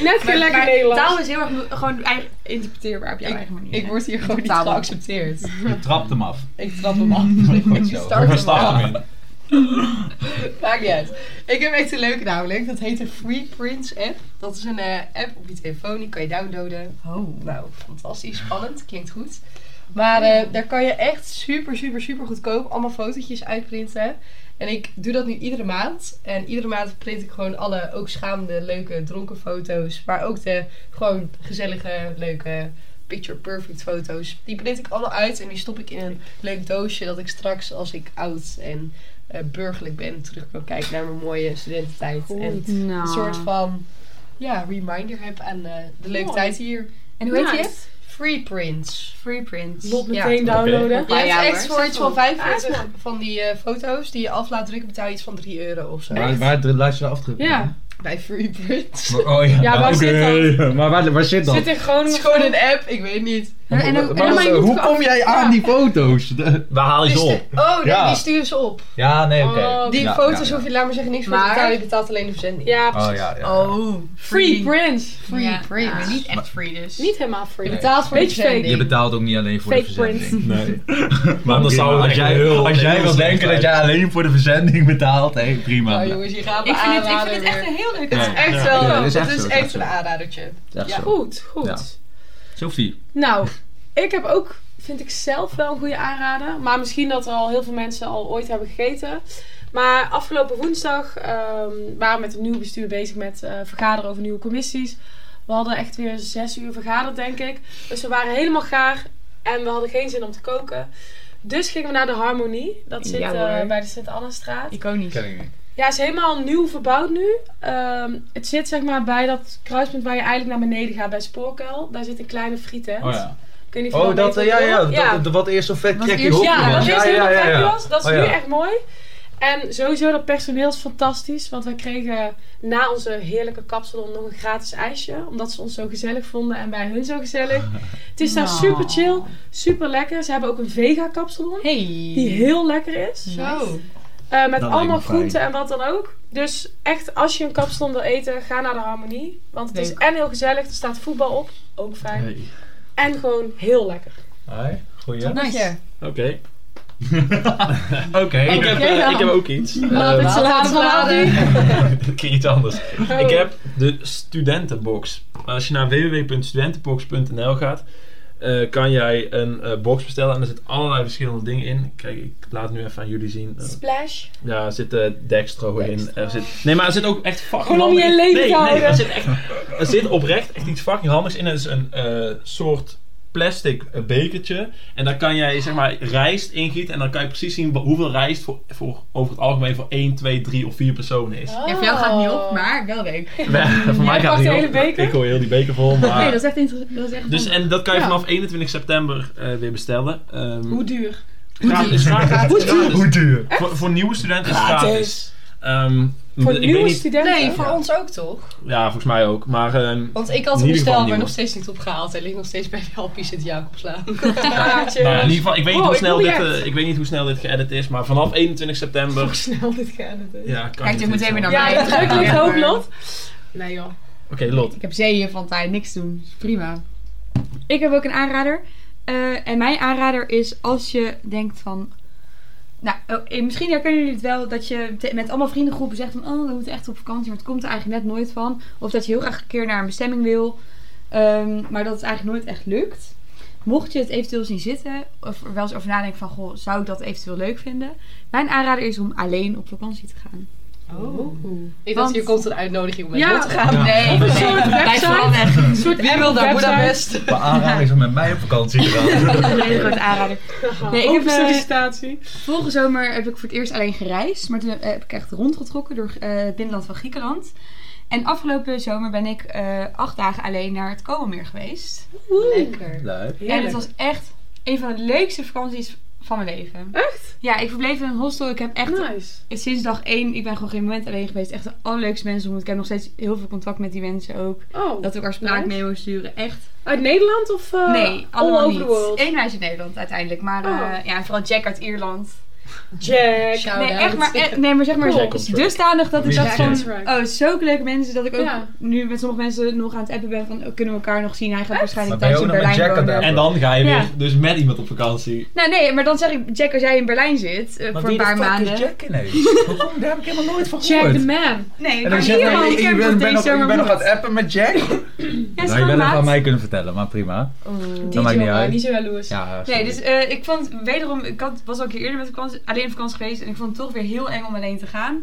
[SPEAKER 1] Net weer lekker Nederlands.
[SPEAKER 10] taal is heel erg mo- gewoon eigen, interpreteerbaar op jouw eigen manier.
[SPEAKER 3] Ik
[SPEAKER 10] hè?
[SPEAKER 3] word hier gewoon niet
[SPEAKER 10] Taal.
[SPEAKER 3] geaccepteerd.
[SPEAKER 4] Je trapt hem af.
[SPEAKER 3] Ik trap hem af. Ik start hem af. Maakt niet uit. Ik heb echt een leuke namelijk. Dat heet de Free Prints app. Dat is een eh, app op je telefoon. Die kan je downloaden. Oh. Nou, fantastisch. Spannend. Klinkt goed. Maar eh, daar kan je echt super, super, super goedkoop allemaal fotootjes uitprinten. En ik doe dat nu iedere maand. En iedere maand print ik gewoon alle ook schaamde, leuke, dronken foto's. Maar ook de gewoon gezellige, leuke, picture perfect foto's. Die print ik allemaal uit en die stop ik in een leuk doosje. Dat ik straks als ik oud en eh, burgerlijk ben terug kan kijken naar mijn mooie studententijd. En
[SPEAKER 10] Nou.
[SPEAKER 3] een soort van ja, reminder heb aan eh, de leuke
[SPEAKER 1] Mooi.
[SPEAKER 3] tijd hier.
[SPEAKER 10] En hoe heet je?
[SPEAKER 1] Nice.
[SPEAKER 3] Free prints.
[SPEAKER 10] Free Prince.
[SPEAKER 1] Lot
[SPEAKER 3] Ja.
[SPEAKER 1] meteen downloaden.
[SPEAKER 3] Je
[SPEAKER 10] Ja, ja,
[SPEAKER 3] hebt
[SPEAKER 10] hoor.
[SPEAKER 3] echt
[SPEAKER 10] Zet
[SPEAKER 3] voor iets
[SPEAKER 10] hem
[SPEAKER 3] van
[SPEAKER 10] op.
[SPEAKER 3] 45 van die eh, foto's die je af laat drukken betaal je iets van 3 euro of zo.
[SPEAKER 4] Waar, waar dru- laat je de afdruk?
[SPEAKER 1] Ja.
[SPEAKER 3] Bij Free Prints.
[SPEAKER 4] Oh ja,
[SPEAKER 1] Ja, waar zit
[SPEAKER 4] oké. Maar waar, waar zit dat?
[SPEAKER 1] Zit in
[SPEAKER 3] Het is
[SPEAKER 1] Groningen.
[SPEAKER 3] gewoon een app, ik weet niet.
[SPEAKER 10] En, en, en,
[SPEAKER 4] Maar
[SPEAKER 1] dan
[SPEAKER 4] wat-
[SPEAKER 1] moet je
[SPEAKER 4] hoe
[SPEAKER 1] het
[SPEAKER 4] kom jij aan die foto's? De-
[SPEAKER 2] Waar haal je
[SPEAKER 3] Dus
[SPEAKER 2] ze
[SPEAKER 3] de-
[SPEAKER 2] op?
[SPEAKER 3] oh, nee,
[SPEAKER 4] Ja.
[SPEAKER 3] die sturen ze op.
[SPEAKER 4] Ja, nee, oké.
[SPEAKER 1] Oh,
[SPEAKER 3] Die
[SPEAKER 4] Ja,
[SPEAKER 3] foto's
[SPEAKER 4] ja, ja.
[SPEAKER 3] hoef je, laat maar zeggen, niks
[SPEAKER 10] Maar-
[SPEAKER 3] voor te betalen. Je betaalt alleen de verzending.
[SPEAKER 1] Ja, precies.
[SPEAKER 4] Oh ja, ja.
[SPEAKER 10] Oh.
[SPEAKER 1] Free Prince.
[SPEAKER 10] Free
[SPEAKER 3] Ja.
[SPEAKER 10] Prince.
[SPEAKER 3] Ja.
[SPEAKER 10] Niet echt free dus.
[SPEAKER 1] Niet helemaal free.
[SPEAKER 3] Je betaalt voor
[SPEAKER 1] Beetje
[SPEAKER 3] de verzending.
[SPEAKER 4] Je betaalt ook niet alleen voor de
[SPEAKER 1] Fake
[SPEAKER 4] verzending. Nee.
[SPEAKER 2] Maar anders
[SPEAKER 4] Prima,
[SPEAKER 2] zou
[SPEAKER 4] als
[SPEAKER 2] het
[SPEAKER 4] jij,
[SPEAKER 2] heel-
[SPEAKER 4] als jij
[SPEAKER 2] heel
[SPEAKER 4] wil
[SPEAKER 2] slecht
[SPEAKER 4] denken
[SPEAKER 2] zijn.
[SPEAKER 4] dat jij alleen voor de verzending betaalt, hé, prima.
[SPEAKER 3] Nou jongens, hier gaan we
[SPEAKER 10] Ik vind, het, ik
[SPEAKER 3] aanraden
[SPEAKER 10] vind het echt
[SPEAKER 3] weer.
[SPEAKER 10] een heel leuk
[SPEAKER 3] Het is echt wel,
[SPEAKER 4] ja,
[SPEAKER 3] dat
[SPEAKER 4] dit
[SPEAKER 3] is echt,
[SPEAKER 4] is echt zo, dit is echt
[SPEAKER 3] een
[SPEAKER 4] zo.
[SPEAKER 3] aanradertje.
[SPEAKER 4] Echt
[SPEAKER 3] Ja.
[SPEAKER 4] zo.
[SPEAKER 1] Goed, goed.
[SPEAKER 4] Ja. Sophie.
[SPEAKER 1] Nou, ik heb ook, vind ik zelf wel een goede aanrader. Maar misschien dat er al heel veel mensen al ooit hebben gegeten. Maar afgelopen woensdag ehm, waren we met het nieuwe bestuur bezig met eh, vergaderen over nieuwe commissies. We hadden echt weer zes uur vergaderd, denk ik. Dus we waren helemaal gaar en we hadden geen zin om te koken. Dus gingen we naar de Harmonie. Dat zit
[SPEAKER 10] Ja,
[SPEAKER 1] eh,
[SPEAKER 10] hoor.
[SPEAKER 1] bij de Sint-Anna-straat.
[SPEAKER 10] Iconisch.
[SPEAKER 4] Ken ik niet.
[SPEAKER 1] Ja, is helemaal nieuw verbouwd nu. Ehm, het zit zeg maar bij dat kruispunt waar je eigenlijk naar beneden gaat bij Spoorkuil. Daar zit een kleine frietent.
[SPEAKER 4] Oh ja.
[SPEAKER 1] Ik weet niet of je
[SPEAKER 11] Oh, dat,
[SPEAKER 1] weet
[SPEAKER 11] eh, ja,
[SPEAKER 1] hoe
[SPEAKER 11] ja,
[SPEAKER 1] het wordt.
[SPEAKER 11] dat- dat- wat eerst zo vet
[SPEAKER 10] Wat
[SPEAKER 11] Jackie
[SPEAKER 10] eerst-
[SPEAKER 11] Hopkins
[SPEAKER 10] Ja,
[SPEAKER 1] Ja, dat
[SPEAKER 11] was.
[SPEAKER 1] is helemaal ja, was. Dat is
[SPEAKER 11] Oh,
[SPEAKER 1] nu
[SPEAKER 11] ja.
[SPEAKER 1] echt mooi. En sowieso dat personeel is fantastisch. Want wij kregen na onze heerlijke kapsalon nog een gratis ijsje. Omdat ze ons zo gezellig vonden en wij hun zo gezellig. Het is daar
[SPEAKER 10] Nou.
[SPEAKER 1] super chill, super lekker. Ze hebben ook een vega kapsalon.
[SPEAKER 10] Hey.
[SPEAKER 1] Die heel lekker is.
[SPEAKER 3] Zo.
[SPEAKER 1] Eh, met
[SPEAKER 4] Dat
[SPEAKER 1] allemaal
[SPEAKER 4] lijkt me fijn.
[SPEAKER 1] groenten en wat dan ook. Dus echt, als je een kapsalon wil eten, ga naar de Harmonie. Want het is
[SPEAKER 10] Leuk.
[SPEAKER 1] en heel gezellig, er staat voetbal op. Ook fijn.
[SPEAKER 2] Hey.
[SPEAKER 1] En gewoon heel lekker.
[SPEAKER 11] Hoi, goeie.
[SPEAKER 10] Nice.
[SPEAKER 2] Oké.
[SPEAKER 11] Oké.
[SPEAKER 2] Ik, heb, eh, ik heb ook iets. Ehm,
[SPEAKER 1] Altijd salade van Aldi.
[SPEAKER 2] een keer iets anders. Ik
[SPEAKER 1] Oh.
[SPEAKER 2] heb de studentenbox. Als je naar www.studentenbox.nl gaat, eh, kan jij een eh, box bestellen en er zitten allerlei verschillende dingen in. Kijk, ik laat het nu even aan jullie zien. Eh,
[SPEAKER 1] Splash.
[SPEAKER 2] ja, er zit eh, dextro, in. Er zit, nee, maar er zit ook echt fucking
[SPEAKER 1] Gewoon om je
[SPEAKER 2] handig-
[SPEAKER 1] leven
[SPEAKER 2] nee,
[SPEAKER 1] te
[SPEAKER 2] nee,
[SPEAKER 1] houden.
[SPEAKER 2] er, zit echt, er zit oprecht echt iets fucking handigs in. Het is een eh, soort plastic eh, bekertje. En daar kan jij zeg maar rijst ingieten. En dan kan je precies zien wa- hoeveel rijst voor, voor, over het algemeen voor 1, 2, 3 of 4 personen is.
[SPEAKER 1] Oh.
[SPEAKER 7] Ja, voor jou gaat het niet op, maar wel leuk.
[SPEAKER 2] voor
[SPEAKER 1] Jij pakt
[SPEAKER 2] het
[SPEAKER 1] de
[SPEAKER 2] niet
[SPEAKER 1] hele
[SPEAKER 2] op.
[SPEAKER 1] beker?
[SPEAKER 2] Ik gooi heel die beker vol. Maar...
[SPEAKER 7] Nee, dat is echt interessant. Dat is echt
[SPEAKER 2] Ah. Dus
[SPEAKER 7] handig.
[SPEAKER 2] en dat kan je
[SPEAKER 7] Ja.
[SPEAKER 2] vanaf 21 september eh, weer bestellen. Ehm,
[SPEAKER 1] Hoe duur?
[SPEAKER 2] gratis, gratis, gratis.
[SPEAKER 11] Hoe duur?
[SPEAKER 2] Voor, voor nieuwe studenten is het gratis. Ehm,
[SPEAKER 1] Voor
[SPEAKER 2] ik
[SPEAKER 1] nieuwe
[SPEAKER 2] weet niet,
[SPEAKER 1] studenten?
[SPEAKER 3] Nee, voor ons ook toch?
[SPEAKER 2] ja, volgens mij ook. Maar ehm,
[SPEAKER 3] Want ik had hem
[SPEAKER 2] In ieder geval
[SPEAKER 3] besteld, maar
[SPEAKER 2] nieuw.
[SPEAKER 3] nog steeds niet opgehaald. Hij ligt nog steeds bij de Alpie Sint-Jacobslaan.
[SPEAKER 1] Kaartje.
[SPEAKER 2] nou ja, in ieder geval, ik weet, niet
[SPEAKER 1] Oh,
[SPEAKER 2] hoe
[SPEAKER 1] ik
[SPEAKER 2] snel
[SPEAKER 1] wil
[SPEAKER 2] dit,
[SPEAKER 1] die
[SPEAKER 2] eh, ik weet niet hoe snel dit geëdit is, maar vanaf 21
[SPEAKER 1] Hoe
[SPEAKER 2] september.
[SPEAKER 1] snel dit geëdit is.
[SPEAKER 2] Ja, kan
[SPEAKER 7] Kijk
[SPEAKER 2] je
[SPEAKER 7] ook meteen weer naar
[SPEAKER 1] Ja,
[SPEAKER 7] mij.
[SPEAKER 1] ja druk ligt
[SPEAKER 7] Ja.
[SPEAKER 1] hoop, Lot. Nee joh.
[SPEAKER 2] Oké, Lot.
[SPEAKER 7] Ik heb zeeën van tijd, niks doen. Is Prima. Ik heb ook een aanrader. Eh, en mijn aanrader is als je denkt van... Nou, oh, eh, misschien herkennen jullie het wel dat je te- met allemaal vriendengroepen zegt van... Oh, we moeten echt op vakantie, maar het komt er eigenlijk net nooit van. Of dat je heel graag een keer naar een bestemming wil, ehm, maar dat het eigenlijk nooit echt lukt. Mocht je het eventueel zien zitten, of er wel eens over nadenken van... Goh, zou ik dat eventueel leuk vinden? Mijn aanrader is om alleen op vakantie te gaan.
[SPEAKER 3] Oh. Ik dacht,
[SPEAKER 7] Want-
[SPEAKER 3] hier komt een uitnodiging om met
[SPEAKER 1] Ja.
[SPEAKER 3] Lot te gaan.
[SPEAKER 11] Ja.
[SPEAKER 3] Nee,
[SPEAKER 1] Op een
[SPEAKER 3] nee.
[SPEAKER 1] soort
[SPEAKER 3] Wij
[SPEAKER 1] website.
[SPEAKER 3] veranderen.
[SPEAKER 1] Een soort
[SPEAKER 3] Wie wil daar
[SPEAKER 1] website.
[SPEAKER 3] Boedapest?
[SPEAKER 11] Mijn aanrader is om met mij op vakantie te gaan.
[SPEAKER 7] Dat is een hele grote aanrader. Nee, ik heb,
[SPEAKER 1] Open
[SPEAKER 7] eh,
[SPEAKER 1] sollicitatie.
[SPEAKER 7] Vorige zomer heb ik voor het eerst alleen gereisd, maar toen heb- heb ik echt rondgetrokken door eh, het binnenland van Griekenland. En afgelopen zomer ben ik eh, acht dagen alleen naar het Koolmeer geweest.
[SPEAKER 3] Lekker.
[SPEAKER 4] Leuk.
[SPEAKER 7] En het was echt een van de leukste vakanties van mijn leven.
[SPEAKER 1] Echt?
[SPEAKER 7] Ja, ik verbleef in een hostel. Ik heb echt
[SPEAKER 1] Nice.
[SPEAKER 7] sinds dag één, ik ben gewoon geen moment alleen geweest. Echt de allerleukste mensen ontmoet. Ik heb nog steeds heel veel contact met die mensen ook.
[SPEAKER 1] Oh,
[SPEAKER 7] Dat we elkaar spraakmemo's sturen. Echt
[SPEAKER 1] uit Nederland of eh,
[SPEAKER 7] Nee,
[SPEAKER 1] all
[SPEAKER 7] allemaal
[SPEAKER 1] over the
[SPEAKER 7] niet.
[SPEAKER 1] world?
[SPEAKER 7] Eén meisje in Nederland uiteindelijk. Maar eh,
[SPEAKER 1] Oh.
[SPEAKER 7] ja, vooral Jack uit Ierland.
[SPEAKER 1] Jack.
[SPEAKER 3] Shout-out.
[SPEAKER 7] Nee, echt maar, eh, nee, maar zeg maar
[SPEAKER 2] Cool.
[SPEAKER 7] zo- dusdanig dat ik
[SPEAKER 2] Jack
[SPEAKER 7] dacht
[SPEAKER 2] on
[SPEAKER 7] van...
[SPEAKER 1] track.
[SPEAKER 7] Oh, zulke leuke mensen dat ik ook
[SPEAKER 1] Ja.
[SPEAKER 7] nu met sommige mensen nog aan het appen ben van... oh, kunnen we elkaar nog zien? Hij gaat
[SPEAKER 11] Maar
[SPEAKER 7] waarschijnlijk
[SPEAKER 11] ben je
[SPEAKER 7] thuis in
[SPEAKER 11] ook nog met
[SPEAKER 7] Berlijn
[SPEAKER 11] Jack aan
[SPEAKER 7] wonen.
[SPEAKER 11] het
[SPEAKER 2] En dan ga je
[SPEAKER 7] Ja.
[SPEAKER 2] weer dus met iemand op vakantie.
[SPEAKER 7] Nou nee, maar dan zeg ik... Jack, als jij in Berlijn zit eh, voor een paar maanden...
[SPEAKER 11] Jack ineens? Waarom? Daar heb ik helemaal nooit van
[SPEAKER 1] Jack the man.
[SPEAKER 7] Nee,
[SPEAKER 11] En
[SPEAKER 7] maar
[SPEAKER 11] dan zeg
[SPEAKER 7] hier
[SPEAKER 11] je,
[SPEAKER 7] al.
[SPEAKER 11] nee,
[SPEAKER 7] Ik
[SPEAKER 11] je
[SPEAKER 7] heb
[SPEAKER 11] bent
[SPEAKER 7] nog
[SPEAKER 11] ben
[SPEAKER 7] deze
[SPEAKER 11] nog- je
[SPEAKER 7] zomer
[SPEAKER 11] bent nog aan
[SPEAKER 7] nog.
[SPEAKER 11] het appen met Jack?
[SPEAKER 7] Ja,
[SPEAKER 4] Nou, je bent het aan
[SPEAKER 7] maat.
[SPEAKER 4] mij kunnen vertellen, maar prima.
[SPEAKER 1] Oh.
[SPEAKER 4] Dat maakt niet uit.
[SPEAKER 1] Niet zo jaloers.
[SPEAKER 4] Ja,
[SPEAKER 7] Nee,
[SPEAKER 4] sorry.
[SPEAKER 7] dus eh, ik vond wederom, ik had, was al een keer eerder met vakantie, alleen op vakantie geweest en ik vond het toch weer heel eng om alleen te gaan.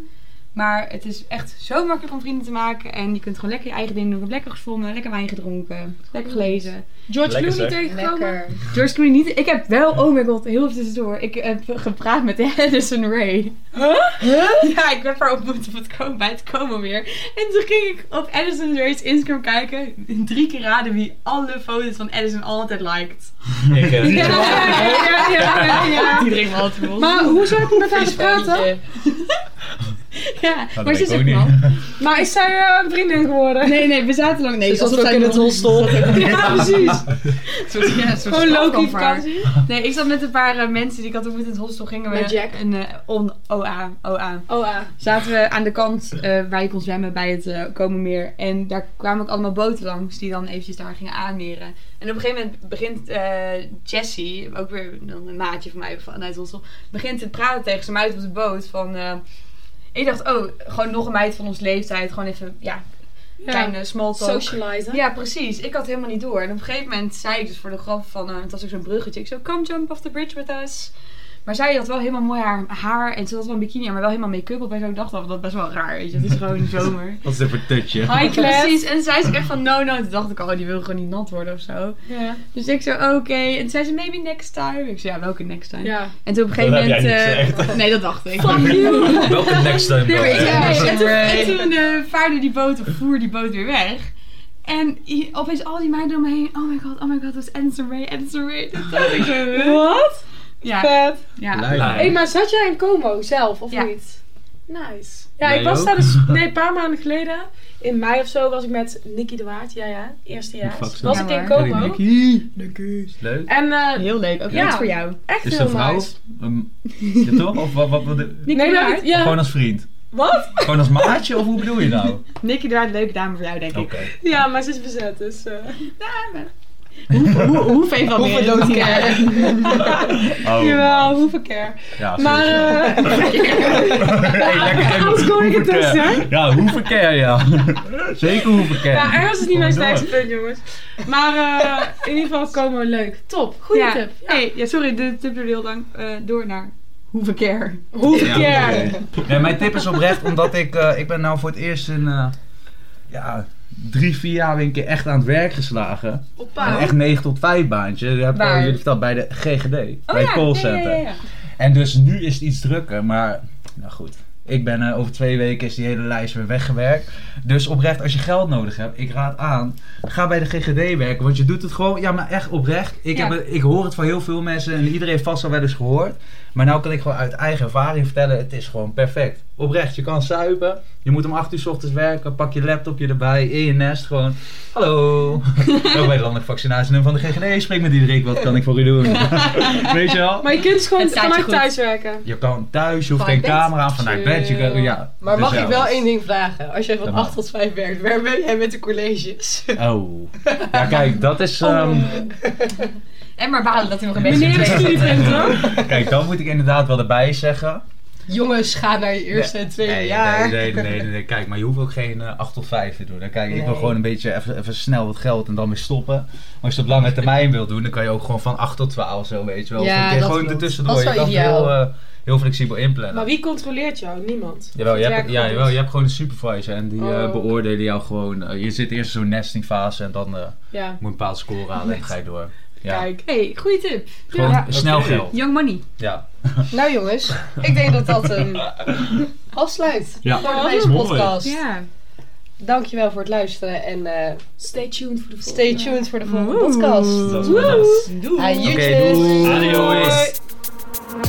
[SPEAKER 7] Maar het is echt zo makkelijk om vrienden te maken en je kunt gewoon lekker je eigen dingen doen. Ik heb lekker gevonden, lekker wijn gedronken, lekker gelezen.
[SPEAKER 1] George
[SPEAKER 2] Lekker,
[SPEAKER 1] Clooney
[SPEAKER 2] zeg.
[SPEAKER 1] tegengekomen.
[SPEAKER 3] Lekker.
[SPEAKER 7] George Clooney niet, ik heb wel, oh my god, heel even tussendoor, ik heb gepraat met Addison Ray. Huh? Ja, ik heb haar ontmoet op het komen, bij het komen weer. En toen ging ik op Addison Ray's Instagram kijken, drie keer raden wie alle foto's van Addison altijd liked.
[SPEAKER 2] Ik, eh,
[SPEAKER 1] Ja, ja, ja, ja, ja, ja.
[SPEAKER 7] Die drinkt me altijd vol.
[SPEAKER 1] Maar hoe zou ik met haar praten?
[SPEAKER 3] eh.
[SPEAKER 7] Ja,
[SPEAKER 4] Nou, Ah, dat
[SPEAKER 7] maar ze
[SPEAKER 4] weet
[SPEAKER 7] is
[SPEAKER 4] ik
[SPEAKER 7] ook
[SPEAKER 4] ook
[SPEAKER 7] man.
[SPEAKER 1] Maar is zij eh, een vriendin geworden?
[SPEAKER 7] Nee, nee, we zaten lang. Nee,
[SPEAKER 3] alsof
[SPEAKER 7] zij
[SPEAKER 3] ik in
[SPEAKER 7] nog-
[SPEAKER 3] het hostel.
[SPEAKER 1] Ja, precies.
[SPEAKER 7] Ja, een soort
[SPEAKER 1] Gewoon Loki
[SPEAKER 7] strafkamp waar-
[SPEAKER 1] vakantie.
[SPEAKER 7] Nee, ik zat met een paar eh, mensen die ik had ontmoet in het hostel. Gingen we
[SPEAKER 1] Met Jack?
[SPEAKER 7] een eh, on, OA, OA.
[SPEAKER 1] Oh ja.
[SPEAKER 7] Zaten we aan de kant eh, waar je kon zwemmen bij het eh Komenmeer. En daar kwamen ook allemaal boten langs die dan eventjes daar gingen aanmeren. En op een gegeven moment begint eh, Jessie, ook weer dan een maatje van mij vanuit het hostel, begint te praten tegen zijn meid op de boot. Van, eh, ik dacht, oh, gewoon nog een meid van ons leeftijd. Gewoon even, ja, kleine small talk.
[SPEAKER 1] Socializen.
[SPEAKER 7] Ja, precies. Ik had helemaal niet door. En op een gegeven moment zei ik dus voor de grap van... eh het was ook zo'n bruggetje. Ik zo, come jump off the bridge with us. Maar zij had wel helemaal mooi haar, haar en ze had wel een bikini, aan, maar wel helemaal make-up op. En zo Ik dacht wel, dat is best wel raar, weet je. Het is gewoon zomer.
[SPEAKER 4] Wat is dit voor touchje?
[SPEAKER 1] Hi class.
[SPEAKER 7] Precies. En zij is echt van, no, no. Toen dacht ik, oh, die wil gewoon niet nat worden of zo.
[SPEAKER 1] Ja.
[SPEAKER 7] Dus ik zo, oké. En toen zei ze, maybe next time. Ik zei, ja, welke next time?
[SPEAKER 1] Ja.
[SPEAKER 7] En toen op een gegeven
[SPEAKER 2] Dat heb
[SPEAKER 7] moment...
[SPEAKER 2] jij niet
[SPEAKER 7] eh, nee, dat dacht ik.
[SPEAKER 11] Welke next time
[SPEAKER 7] Nee, maar ik-
[SPEAKER 11] dan?
[SPEAKER 7] nee, en toen,
[SPEAKER 3] Right.
[SPEAKER 7] en toen eh, vaarde die boot, of voer die boot weer weg. En i- opeens al die meiden om me heen. Oh my god, oh my god, dat is Anderson Ray, Anderson Ray. Dat dacht ik zo, huh?
[SPEAKER 1] Wat?
[SPEAKER 7] Ja,
[SPEAKER 1] Vet.
[SPEAKER 7] ja.
[SPEAKER 4] Leuk.
[SPEAKER 1] Hé, maar zat jij in Como zelf of
[SPEAKER 7] Ja.
[SPEAKER 1] niet? Nice. Ja,
[SPEAKER 4] Jij
[SPEAKER 1] ik was
[SPEAKER 4] ook?
[SPEAKER 1] daar dus nee, een paar maanden geleden. In mei of zo was ik met Nicky de Waard. Ja, ja.
[SPEAKER 4] Fuck
[SPEAKER 1] Eerstejaars.
[SPEAKER 4] zo.
[SPEAKER 1] Was
[SPEAKER 7] Ja,
[SPEAKER 1] ik in
[SPEAKER 7] maar.
[SPEAKER 4] Hey,
[SPEAKER 1] Como.
[SPEAKER 4] Nicky. Leuk.
[SPEAKER 1] En eh,
[SPEAKER 7] Heel leuk, ook
[SPEAKER 1] Ja.
[SPEAKER 7] iets voor jou.
[SPEAKER 1] echt
[SPEAKER 4] Is ze
[SPEAKER 1] heel
[SPEAKER 4] een vrouw?
[SPEAKER 1] nice.
[SPEAKER 4] Ehm, ja, toch? Of wat, wat, wat-
[SPEAKER 1] Nee, dat ik- ja.
[SPEAKER 4] Gewoon als vriend?
[SPEAKER 1] Wat?
[SPEAKER 4] Gewoon als maatje? Of hoe bedoel je nou? Oh.
[SPEAKER 7] Nicky Duart, leuke dame voor jou, denk
[SPEAKER 4] Oké.
[SPEAKER 7] ik.
[SPEAKER 1] Ja, maar ze is bezet, dus... eh.
[SPEAKER 10] Hoe- hoe- Hoeveel van meer?
[SPEAKER 3] doodkeren.
[SPEAKER 4] Oh,
[SPEAKER 1] Jawel, hoeveel keer.
[SPEAKER 4] Ja,
[SPEAKER 1] Maar
[SPEAKER 4] sowieso.
[SPEAKER 1] eh
[SPEAKER 4] Hey, lekker.
[SPEAKER 1] anders kom ik dus, er tussen.
[SPEAKER 4] Ja, hoeverkeer, ja. Zeker hoeverkeer.
[SPEAKER 1] ja, ergens is niet mijn
[SPEAKER 4] Kom door.
[SPEAKER 1] sterkste punt, jongens. Maar eh, in ieder geval komen we leuk. Top, goede
[SPEAKER 10] Ja.
[SPEAKER 1] tip.
[SPEAKER 10] Hey, ja, sorry, de tip duurde heel lang. Eh, door naar hoeveel keer?
[SPEAKER 1] Hoeveel
[SPEAKER 4] Ja,
[SPEAKER 1] keer?
[SPEAKER 4] oké. Nee, mijn tip is oprecht, omdat ik, eh, ik ben nou voor het eerst in eh, ja, drie, vier jaar weer een keer echt aan het werk geslagen. Een echt 9 tot 5 baantje. Dat heb ik al
[SPEAKER 3] Waar?
[SPEAKER 4] jullie verteld bij de GGD,
[SPEAKER 7] Oh
[SPEAKER 4] bij het
[SPEAKER 10] Oh ja,
[SPEAKER 4] callcenter.
[SPEAKER 10] ja, ja, ja.
[SPEAKER 4] En dus nu is het iets drukker, maar nou goed. Ik ben eh, over twee weken is die hele lijst weer weggewerkt. Dus oprecht, als je geld nodig hebt, ik raad aan, ga bij de GGD werken. Want je doet het gewoon, ja maar echt oprecht. Ik,
[SPEAKER 10] Ja.
[SPEAKER 4] heb, het- ik hoor het van heel veel mensen en iedereen heeft vast al wel eens gehoord. Maar nou kan ik gewoon uit eigen ervaring vertellen, het is gewoon perfect. Oprecht, je kan suipen, je moet om 8 uur s ochtends werken, pak je laptopje erbij, in je nest gewoon. Hallo, ook bij het landelijk vaccinatienummer van de GGD, spreek met Diederik, wat kan ik voor u doen? Weet je wel?
[SPEAKER 1] Maar je kunt dus gewoon
[SPEAKER 3] Het staat je
[SPEAKER 1] vanuit
[SPEAKER 3] goed.
[SPEAKER 1] thuis werken.
[SPEAKER 4] Je kan thuis, je hoeft
[SPEAKER 3] Vanuit
[SPEAKER 4] geen
[SPEAKER 3] bed.
[SPEAKER 4] camera aan vanuit bed. Je kan, ja,
[SPEAKER 3] Maar
[SPEAKER 4] dus
[SPEAKER 3] mag
[SPEAKER 4] ja.
[SPEAKER 3] ik wel één ding vragen? Als jij van
[SPEAKER 4] Dat mag.
[SPEAKER 3] 8 tot 5 werkt, waar ben jij met de colleges?
[SPEAKER 4] Oh. Ja, kijk, dat is.
[SPEAKER 3] Oh.
[SPEAKER 4] ehm,
[SPEAKER 7] En maar balen dat hij nog een beetje...
[SPEAKER 1] Meneer de studiepunt, hoor.
[SPEAKER 4] kijk, dan moet ik inderdaad wel erbij zeggen.
[SPEAKER 3] Jongens, ga naar je eerste en tweede
[SPEAKER 4] nee,
[SPEAKER 3] jaar.
[SPEAKER 4] Nee, nee, nee, nee, nee, Kijk, maar je hoeft ook geen eh, 8 tot 5 te doen. hè. Kijk, ik wil
[SPEAKER 3] Nee.
[SPEAKER 4] gewoon een beetje even, even snel wat geld en dan weer stoppen. Maar als je het op lange termijn wil doen, dan kan je ook gewoon van 8 tot 12 zo, weet je wel.
[SPEAKER 3] Ja,
[SPEAKER 4] Of een keer
[SPEAKER 3] dat
[SPEAKER 4] gewoon
[SPEAKER 3] klopt.
[SPEAKER 4] ertussendoor.
[SPEAKER 3] Dat is
[SPEAKER 4] je
[SPEAKER 3] wel
[SPEAKER 4] kan
[SPEAKER 3] ideaal.
[SPEAKER 4] heel, eh, heel flexibel inplannen.
[SPEAKER 1] Maar wie controleert jou? Niemand.
[SPEAKER 4] Jawel, je
[SPEAKER 1] Het
[SPEAKER 4] hebt,
[SPEAKER 1] werk
[SPEAKER 4] ja,
[SPEAKER 1] goed
[SPEAKER 4] jawel,
[SPEAKER 1] is.
[SPEAKER 4] je hebt gewoon een supervisor en die eh
[SPEAKER 1] Oh.
[SPEAKER 4] beoordelen jou gewoon. eh, je zit eerst in zo'n nestingfase en dan eh, moet
[SPEAKER 1] Ja,
[SPEAKER 4] je een bepaalde score halen en dan ga je door. Ja.
[SPEAKER 1] kijk.
[SPEAKER 10] Hey, goede tip.
[SPEAKER 4] Gewoon
[SPEAKER 10] Ja.
[SPEAKER 4] snel
[SPEAKER 2] Oké.
[SPEAKER 4] geld.
[SPEAKER 10] Young money.
[SPEAKER 4] Ja.
[SPEAKER 3] Nou jongens, ik denk dat dat hem afsluit
[SPEAKER 4] Ja.
[SPEAKER 3] voor deze
[SPEAKER 2] Mooi.
[SPEAKER 3] podcast.
[SPEAKER 10] Ja.
[SPEAKER 3] Dankjewel voor het luisteren en eh,
[SPEAKER 1] Stay tuned voor de volgende.
[SPEAKER 3] stay tuned voor de volgende
[SPEAKER 10] Oeh.
[SPEAKER 3] podcast.
[SPEAKER 2] Dat is wel nice.
[SPEAKER 3] Aan
[SPEAKER 4] Oké,
[SPEAKER 3] YouTube.
[SPEAKER 4] doei.
[SPEAKER 2] Adios.